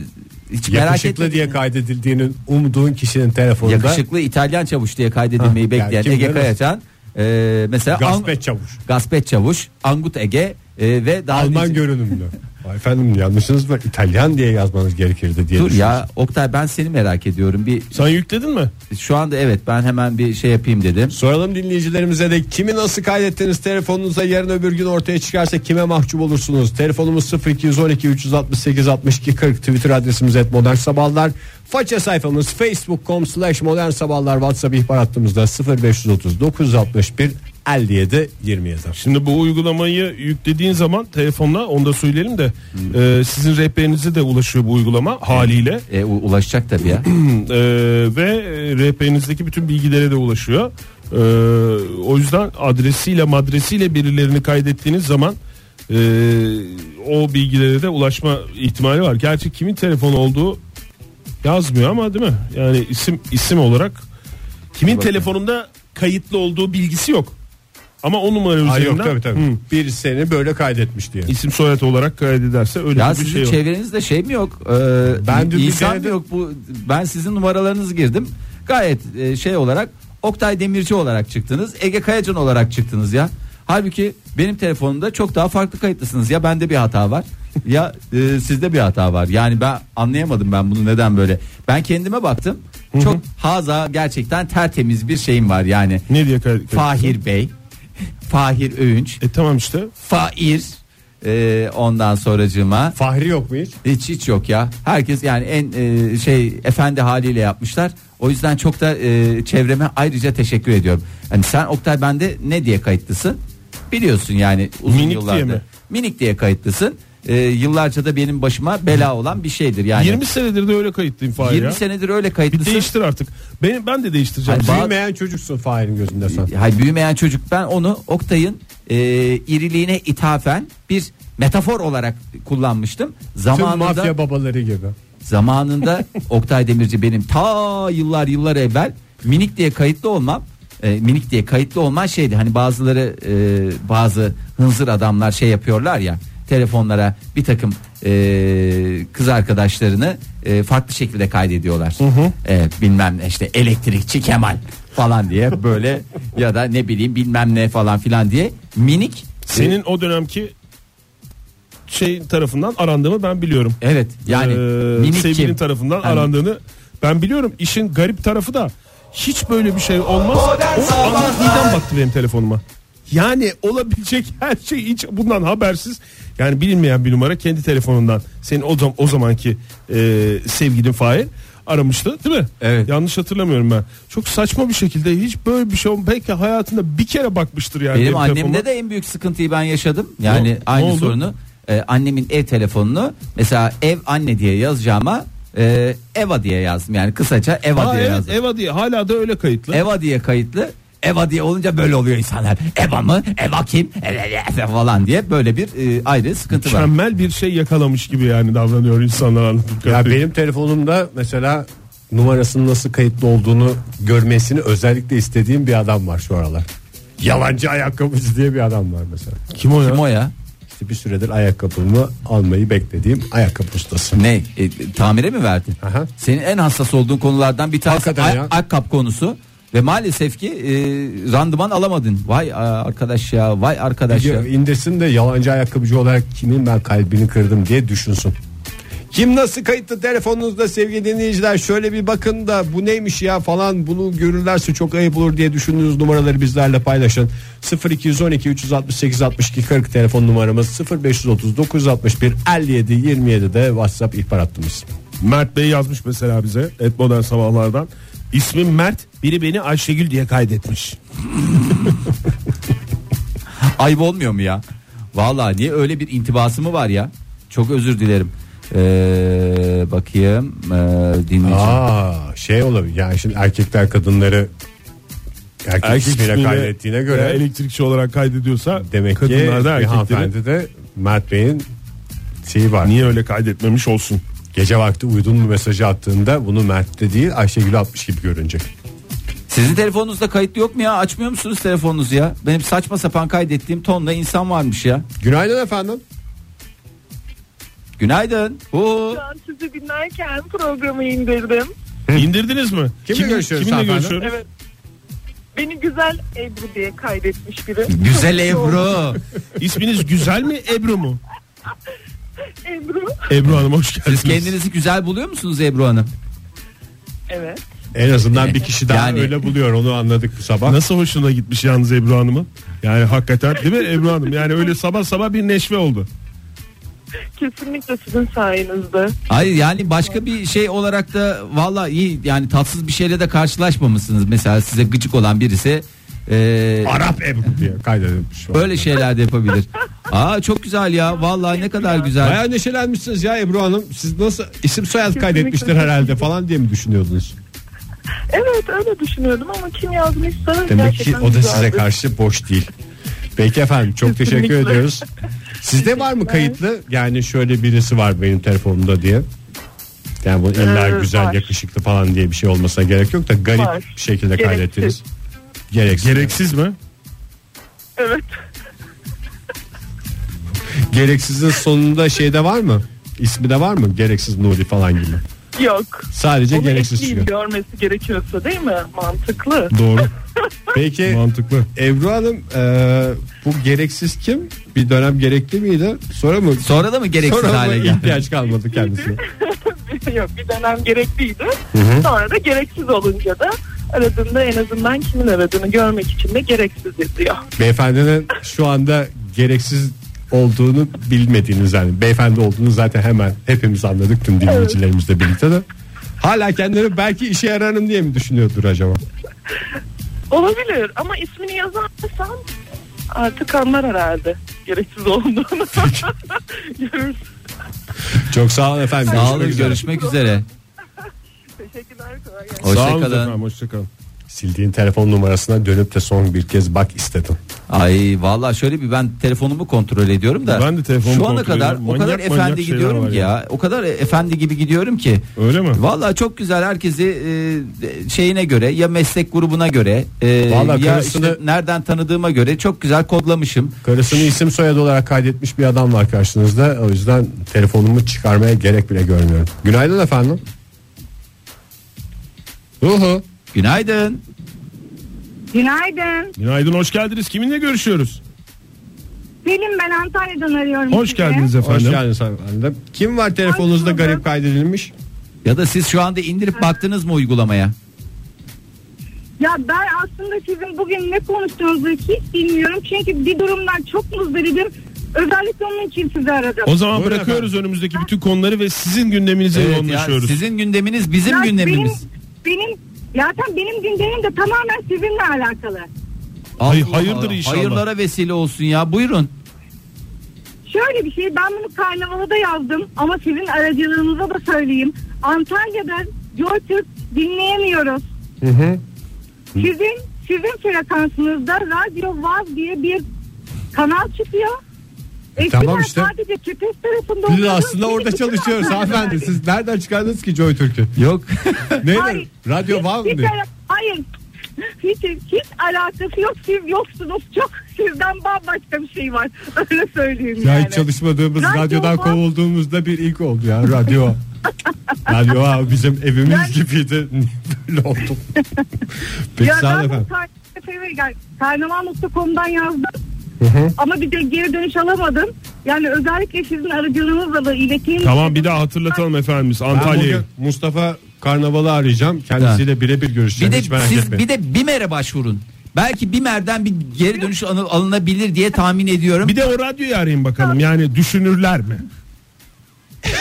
Speaker 4: hiç merak
Speaker 3: Yakışıklı
Speaker 4: etmedim.
Speaker 3: diye kaydedildiğini umduğun kişinin telefonunda
Speaker 4: Yakışıklı İtalyan çavuş diye kaydedilmeyi
Speaker 3: Hah, yani
Speaker 4: bekleyen
Speaker 3: kim
Speaker 4: Ege
Speaker 3: bilir?
Speaker 4: Kayacan e, mesela Ang-
Speaker 3: Gaspet Çavuş.
Speaker 4: Gaspet Çavuş, Angut Ege e, ve daha
Speaker 3: Alman
Speaker 4: nice-
Speaker 3: görünümlü. Ay Efendim yanlışınız var. İtalyan diye yazmanız gerekirdi diye
Speaker 4: Dur
Speaker 3: düşünüyorum.
Speaker 4: ya Oktay ben seni merak ediyorum. Bir
Speaker 5: Sen yükledin mi?
Speaker 4: şu anda evet ben hemen bir şey yapayım dedim.
Speaker 3: Soralım dinleyicilerimize de kimi nasıl kaydettiniz telefonunuza yarın öbür gün ortaya çıkarsa kime mahcup olursunuz? Telefonumuz 0212 368 62 40 Twitter adresimiz et modern sabahlar. Faça sayfamız facebook.com slash modern sabahlar WhatsApp ihbar hattımızda 0530 961 57 27.
Speaker 5: Şimdi bu uygulamayı yüklediğin zaman telefonla onu da söyleyelim de e, sizin rehberinize de ulaşıyor bu uygulama haliyle.
Speaker 4: E, u- ulaşacak tabii ya.
Speaker 5: Ee, ve e, rehberinizdeki bütün bilgilere de ulaşıyor. Ee, o yüzden adresiyle madresiyle birilerini kaydettiğiniz zaman e, o bilgilere de ulaşma ihtimali var. Gerçi kimin telefonu olduğu yazmıyor ama değil mi? Yani isim isim olarak kimin telefonunda kayıtlı olduğu bilgisi yok. Ama o numara
Speaker 3: Ay
Speaker 5: üzerinden
Speaker 3: yok tabii tabii.
Speaker 5: Hı,
Speaker 3: Bir seni böyle kaydetmiş diye.
Speaker 5: isim soyad olarak kaydederse öyle
Speaker 4: ya
Speaker 5: bir
Speaker 4: sizin
Speaker 5: şey yok.
Speaker 4: çevrenizde şey mi yok? Ee,
Speaker 3: Ben
Speaker 4: ben
Speaker 3: dün bir
Speaker 4: insan
Speaker 3: kere de-
Speaker 4: mı yok bu? Ben sizin numaralarınızı girdim. Gayet e, şey olarak Oktay Demirci olarak çıktınız. Ege Kayacan olarak çıktınız ya. Halbuki benim telefonumda çok daha farklı kayıtlısınız. Ya bende bir hata var. ya e, sizde bir hata var. Yani ben anlayamadım ben bunu neden böyle. Ben kendime baktım. Çok haza gerçekten tertemiz bir şeyim var yani.
Speaker 5: Ne diye kaydet?
Speaker 4: Fahir Bey, Fahir Öğünç,
Speaker 5: E tamam işte.
Speaker 4: Fair e, ondan sonracığıma
Speaker 3: Fahri yok mu hiç?
Speaker 4: hiç hiç yok ya. Herkes yani en e, şey efendi haliyle yapmışlar. O yüzden çok da e, çevreme ayrıca teşekkür ediyorum. Hani sen Oktay bende ne diye kayıtlısın? Biliyorsun yani uzun
Speaker 5: Minik diye
Speaker 4: yıllardır.
Speaker 5: mi?
Speaker 4: Minik diye kayıtlısın. E, yıllarca da benim başıma bela olan bir şeydir yani.
Speaker 5: 20 senedir de öyle kayıtlıyım Fahir
Speaker 4: 20
Speaker 5: ya.
Speaker 4: Hani- senedir öyle
Speaker 5: Bir
Speaker 4: kayıtlısın.
Speaker 5: değiştir artık. Ben ben de değiştireceğim.
Speaker 4: Hayır,
Speaker 5: Büyük-
Speaker 3: Bilmeyen çocuksun Fahir'in gözünde sen.
Speaker 4: Hay büyümeyen çocuk ben onu Oktay'ın e, iriliğine ithafen bir metafor olarak kullanmıştım.
Speaker 3: Tüm
Speaker 4: Zamanında
Speaker 3: mafya babaları gibi.
Speaker 4: zamanında Oktay Demirci benim ta yıllar yıllar evvel minik diye kayıtlı olmam e, minik diye kayıtlı olman şeydi hani bazıları e, bazı hınzır adamlar şey yapıyorlar ya telefonlara bir takım e, kız arkadaşlarını e, farklı şekilde kaydediyorlar. E, bilmem ne işte elektrikçi Kemal falan diye böyle ya da ne bileyim bilmem ne falan filan diye minik e,
Speaker 5: Senin o dönemki şey tarafından arandığımı ben biliyorum.
Speaker 4: evet yani
Speaker 5: Ee,
Speaker 4: minik
Speaker 5: sevgilin
Speaker 4: kim?
Speaker 5: tarafından
Speaker 4: Hani-
Speaker 5: arandığını ben biliyorum. İşin garip tarafı da hiç böyle bir şey olmaz.
Speaker 2: Modern
Speaker 5: O
Speaker 2: Sabahlar.
Speaker 5: aniden baktı benim telefonuma. Yani olabilecek her şey hiç bundan habersiz. Yani bilinmeyen bir numara kendi telefonundan senin o, zam- o zamanki e, sevgilin Fahir aramıştı değil mi?
Speaker 4: Evet.
Speaker 5: Yanlış hatırlamıyorum ben. Çok saçma bir şekilde hiç böyle bir şey olm- belki hayatında bir kere bakmıştır yani.
Speaker 4: Benim
Speaker 5: telefonuma.
Speaker 4: annemde de en büyük sıkıntıyı ben yaşadım. Yani
Speaker 5: Ne- ne
Speaker 4: aynı e,
Speaker 5: oldu?
Speaker 4: sorunu. Ee, annemin ev telefonunu mesela ev anne diye yazacağıma e, EVA diye yazdım. Yani kısaca EVA
Speaker 5: Aa,
Speaker 4: diye
Speaker 5: evet
Speaker 4: yazdım.
Speaker 5: Eva diye hala da öyle kayıtlı.
Speaker 4: EVA diye kayıtlı. EVA diye olunca böyle oluyor insanlar. EVA mı? EVA kim? EVA falan diye böyle bir e, ayrı sıkıntı var.
Speaker 5: Mükemmel bir şey yakalamış gibi yani davranıyor insanlar anladığım
Speaker 3: Ya
Speaker 5: kadarıyla.
Speaker 3: benim telefonumda mesela numarasının nasıl kayıtlı olduğunu görmesini özellikle istediğim bir adam var şu aralar. Yalancı ayakkabıcı diye bir adam var mesela.
Speaker 5: Kim o ya?
Speaker 4: Kim o ya?
Speaker 3: İşte bir süredir ayakkabımı almayı beklediğim ayakkabı ustası.
Speaker 4: Ne? E, tamire mi verdin?
Speaker 3: Aha.
Speaker 4: Senin en hassas olduğun konulardan bir tanesi
Speaker 3: Hakikaten ya.
Speaker 4: ay- ayakkabı konusu. Ve maalesef ki e, randıman alamadın. Vay a, arkadaş ya, vay arkadaş ya.
Speaker 3: İndesin de yalancı ayakkabıcı olarak kimin ben kalbini kırdım diye düşünsün. Kim nasıl kayıtlı telefonunuzda sevgili dinleyiciler şöyle bir bakın da bu neymiş ya falan bunu görürlerse çok ayıp olur diye düşündüğünüz numaraları bizlerle paylaşın. 0212 368 62 40 telefon numaramız 0530 961 57 27 de WhatsApp ihbar hattımız.
Speaker 5: Mert Bey yazmış mesela bize et modern sabahlardan. İsmim Mert biri beni Ayşegül diye kaydetmiş.
Speaker 4: Ayıp olmuyor mu ya? Vallahi niye öyle bir intibası mı var ya? Çok özür dilerim. Ee, bakayım ee, dinleyeceğim.
Speaker 3: Aa şey olabilir yani şimdi erkekler kadınları erkek,
Speaker 5: Erkek
Speaker 3: ismiyle
Speaker 5: ismiyle
Speaker 3: kaydettiğine göre
Speaker 5: veya elektrikçi olarak kaydediyorsa
Speaker 3: Demek ki
Speaker 5: kadınlar da
Speaker 3: bir
Speaker 5: erkekleri
Speaker 3: hanımefendi de Mert Bey'in şeyi var.
Speaker 5: niye öyle kaydetmemiş olsun.
Speaker 3: Gece vakti uyudun mu mesajı attığında bunu Mert'te değil Ayşegül'e atmış gibi görünecek.
Speaker 4: Sizin telefonunuzda kayıtlı yok mu ya? Açmıyor musunuz telefonunuzu ya? Benim saçma sapan kaydettiğim tonla insan varmış ya.
Speaker 3: Günaydın efendim.
Speaker 4: Günaydın. Huu.
Speaker 6: Şu an sizi dinlerken programı indirdim.
Speaker 5: İndirdiniz mi?
Speaker 3: Kimle görüşüyoruz
Speaker 5: Kiminle
Speaker 3: hanımefendi?
Speaker 5: görüşüyoruz?
Speaker 6: Evet. Beni güzel Ebru diye kaydetmiş biri.
Speaker 4: Güzel
Speaker 6: Çok mutlu oldum.
Speaker 4: Ebru.
Speaker 5: İsminiz güzel mi Ebru mu?
Speaker 6: Ebru.
Speaker 5: Ebru Hanım hoş geldiniz.
Speaker 4: Siz kendinizi güzel buluyor musunuz Ebru Hanım?
Speaker 6: Evet.
Speaker 3: En azından bir kişi daha
Speaker 4: Yani-
Speaker 3: öyle buluyor onu anladık bu sabah.
Speaker 5: Nasıl hoşuna gitmiş yalnız Ebru Hanım'ın? Yani hakikaten değil mi Ebru Hanım? Yani öyle sabah sabah bir neşve oldu.
Speaker 6: Kesinlikle sizin sayenizde.
Speaker 4: Hayır yani başka bir şey olarak da valla iyi yani tatsız bir şeyle de karşılaşmamışsınız. Mesela size gıcık olan birisi ee,
Speaker 3: Arap Ebru diye kaydedilmiş.
Speaker 4: böyle şeyler de yapabilir. Aa çok güzel ya. Vallahi ne kadar güzel.
Speaker 3: Bayağı neşelenmişsiniz ya Ebru Hanım. Siz nasıl isim soyad kaydetmiştir
Speaker 6: Kesinlikle.
Speaker 3: herhalde falan diye mi düşünüyordunuz?
Speaker 6: Evet öyle düşünüyordum ama kim yazmışsa
Speaker 3: Demek ki
Speaker 6: gerçekten
Speaker 3: o da
Speaker 6: güzeldi.
Speaker 3: size karşı boş değil. Peki efendim çok teşekkür
Speaker 6: Kesinlikle.
Speaker 3: ediyoruz. Sizde var mı kayıtlı? Yani şöyle birisi var benim telefonumda diye. Yani bu illa
Speaker 6: Ee,
Speaker 3: güzel
Speaker 6: var.
Speaker 3: yakışıklı falan diye bir şey olmasına gerek yok da garip
Speaker 6: Var.
Speaker 3: bir şekilde
Speaker 6: Gereksiz.
Speaker 3: kaydettiniz. Gereksiz.
Speaker 5: Gereksiz mi?
Speaker 6: Evet.
Speaker 3: Gereksizin sonunda şeyde var mı? İsmi de var mı? Gereksiz Nuri falan gibi.
Speaker 6: Yok.
Speaker 3: Sadece
Speaker 6: Onu
Speaker 3: gereksiz
Speaker 6: ekleyeyim,
Speaker 3: çıkıyor.
Speaker 6: görmesi gerekiyorsa değil mi? Mantıklı.
Speaker 5: Doğru.
Speaker 3: Peki
Speaker 5: Mantıklı.
Speaker 3: Ebru Hanım e, bu gereksiz kim? Bir dönem gerekli miydi? Sonra mı?
Speaker 4: Sonra da mı gereksiz
Speaker 3: Sonra mı
Speaker 4: hale geldi?
Speaker 3: ihtiyaç kalmadı kendisine.
Speaker 6: Yok bir dönem gerekliydi. Sonra da gereksiz olunca da aradığında en azından kimin aradığını görmek için de gereksiz yazıyor.
Speaker 3: Beyefendinin şu anda gereksiz olduğunu bilmediğiniz yani beyefendi olduğunu zaten hemen hepimiz anladık tüm dinleyicilerimizle birlikte de. Hala kendileri belki işe yararım diye mi düşünüyordur acaba?
Speaker 6: Olabilir ama ismini yazarsam artık anlar herhalde gereksiz olduğunu. Görürsün.
Speaker 3: Çok sağ olun efendim.
Speaker 4: Sağ olun
Speaker 3: Görüşmek üzere.
Speaker 4: görüşmek üzere.
Speaker 6: Teşekkürler. Kolay gelsin.
Speaker 5: Sağ olun
Speaker 4: Hoşçakalın.
Speaker 5: efendim hoşçakalın.
Speaker 3: Sildiğin telefon numarasına dönüp de son bir kez bak istedim.
Speaker 4: Ay vallahi şöyle bir ben telefonumu kontrol ediyorum da.
Speaker 5: Ben de telefonumu
Speaker 4: Şu ana
Speaker 5: kontrol
Speaker 4: kadar
Speaker 5: ediyorum.
Speaker 4: o kadar
Speaker 5: Manyak
Speaker 4: efendi
Speaker 5: manyak şeyler
Speaker 4: gidiyorum
Speaker 5: var
Speaker 4: ki
Speaker 5: ya.
Speaker 4: ya. O kadar efendi gibi gidiyorum ki.
Speaker 5: Öyle mi?
Speaker 4: Vallahi çok güzel herkesi e, şeyine göre ya meslek grubuna göre e,
Speaker 3: Vallahi
Speaker 4: ya
Speaker 3: karısını-
Speaker 4: işte nereden tanıdığıma göre çok güzel kodlamışım.
Speaker 3: Karısını isim soyadı olarak kaydetmiş bir adam var karşınızda. O yüzden telefonumu çıkarmaya gerek bile görmüyorum. Günaydın efendim. Uhu.
Speaker 4: Günaydın.
Speaker 7: Günaydın.
Speaker 5: Günaydın hoş geldiniz. Kiminle görüşüyoruz?
Speaker 7: Selim ben Antalya'dan arıyorum.
Speaker 5: Hoş
Speaker 7: sizi.
Speaker 5: geldiniz
Speaker 3: Hoş
Speaker 5: efendim.
Speaker 3: geldiniz efendim. Kim var telefonunuzda
Speaker 7: bulduk.
Speaker 3: garip kaydedilmiş?
Speaker 4: Ya da siz şu anda indirip baktınız mı uygulamaya?
Speaker 7: Ya ben aslında sizin bugün ne konuştuğunuzu hiç bilmiyorum. Çünkü bir durumdan çok muzdaribim. Özellikle onun için sizi aradım.
Speaker 5: O zaman
Speaker 3: Buyurun
Speaker 5: bırakıyoruz önümüzdeki bütün konuları ve sizin gündeminize
Speaker 4: Evet ya,
Speaker 5: yoğunlaşıyoruz.
Speaker 4: sizin gündeminiz bizim
Speaker 7: Ya
Speaker 4: gündemimiz.
Speaker 7: Benim, benim, zaten benim gündemim de tamamen sizinle alakalı.
Speaker 5: Hay-
Speaker 4: Allah
Speaker 5: hayırdır
Speaker 4: Allah,
Speaker 5: inşallah.
Speaker 4: Hayırlara vesile olsun ya. Buyurun.
Speaker 7: Şöyle bir şey ben bunu karnavala da yazdım ama sizin aracılığınıza da söyleyeyim. Antalya'da Joytürk dinleyemiyoruz. Sizin sizin frekansınızda Radyo Vaz diye bir kanal çıkıyor. Eskiden
Speaker 3: E, Tamam işte.
Speaker 7: sadece Kepes tarafında şey
Speaker 3: Biz
Speaker 7: oluyordu.
Speaker 3: aslında
Speaker 7: Şimdi
Speaker 3: orada
Speaker 7: bütün
Speaker 3: çalışıyoruz
Speaker 7: Antalya'da
Speaker 3: hanımefendi.
Speaker 7: verdik.
Speaker 3: Siz nereden çıkardınız ki Joy Türk'ü?
Speaker 4: Yok.
Speaker 3: Neydi?
Speaker 7: Hayır.
Speaker 3: Radyo
Speaker 7: Hiç-
Speaker 3: var mı
Speaker 7: hiç
Speaker 3: diye?
Speaker 7: ala- Hayır. Hiç, hiç alakası yok. Siz yoksunuz. Çok sizden bambaşka bir şey var. Öyle söyleyeyim
Speaker 3: Ya
Speaker 7: yani.
Speaker 3: hiç çalışmadığımız
Speaker 7: Radyo
Speaker 3: radyodan
Speaker 7: var.
Speaker 3: kovulduğumuzda bir ilk oldu ya radyo. radyo abi bizim evimiz
Speaker 7: Yani-
Speaker 3: gibiydi. Böyle oldu. Peki
Speaker 7: ya
Speaker 3: sağ olun
Speaker 7: ben bu
Speaker 3: efendim.
Speaker 7: sayfaya gel- karnaval.com'dan yazdım. Ama bir de geri dönüş alamadım. Yani özellikle sizin aracılığınızla da ileteyim.
Speaker 5: Tamam bir daha hatırlatalım efendimiz
Speaker 3: Ben
Speaker 5: Antalya'yı.
Speaker 3: bugün Mustafa Karnaval'ı arayacağım. Kendisiyle birebir
Speaker 4: bir
Speaker 3: görüşeceğim.
Speaker 4: de
Speaker 3: Hiç merak
Speaker 4: siz
Speaker 3: etmeyin.
Speaker 4: bir de BİMER'e başvurun. Belki BİMER'den bir geri dönüş anı- alınabilir diye tahmin ediyorum.
Speaker 5: Bir de o radyoyu arayın bakalım yani düşünürler mi?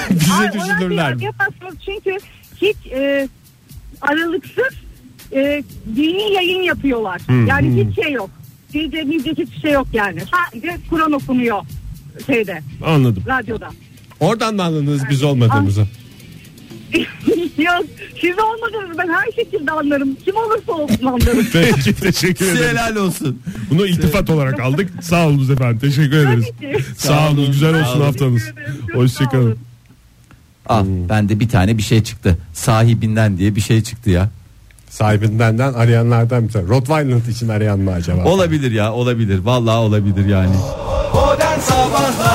Speaker 3: Bizi
Speaker 7: Ay,
Speaker 3: düşünürler
Speaker 7: orası
Speaker 3: mi?
Speaker 7: Yapamazsınız çünkü hiç e, aralıksız e, dini yayın yapıyorlar. yani hiç şey yok. Diyeceğimiz hiçbir şey yok yani. Sadece Kur'an okunuyor şeyde,
Speaker 5: Anladım.
Speaker 7: radyoda.
Speaker 3: Oradan mı anladınız biz olmadığımızı?
Speaker 7: yok, siz olmadınız ben her şekilde anlarım. Kim olursa olsun anlarım.
Speaker 5: Peki teşekkür
Speaker 4: Size
Speaker 5: ederim.
Speaker 4: helal olsun.
Speaker 5: Bunu iltifat olarak aldık. Sağ olunuz efendim. Teşekkür ederiz.
Speaker 7: Tabii ki.
Speaker 5: Sağ olun. Güzel olsun haftanız.
Speaker 7: Teşekkür ederim, çok sağ
Speaker 5: Hoşçakalın.
Speaker 7: olun.
Speaker 4: Ah bende bir tane bir şey çıktı. Sahibinden diye bir şey çıktı ya.
Speaker 3: Sahibindenden arayanlardan bir tane. Rottweiler için arayan mı acaba?
Speaker 4: Olabilir ya olabilir. Vallahi olabilir yani.
Speaker 2: Modern Sabahlar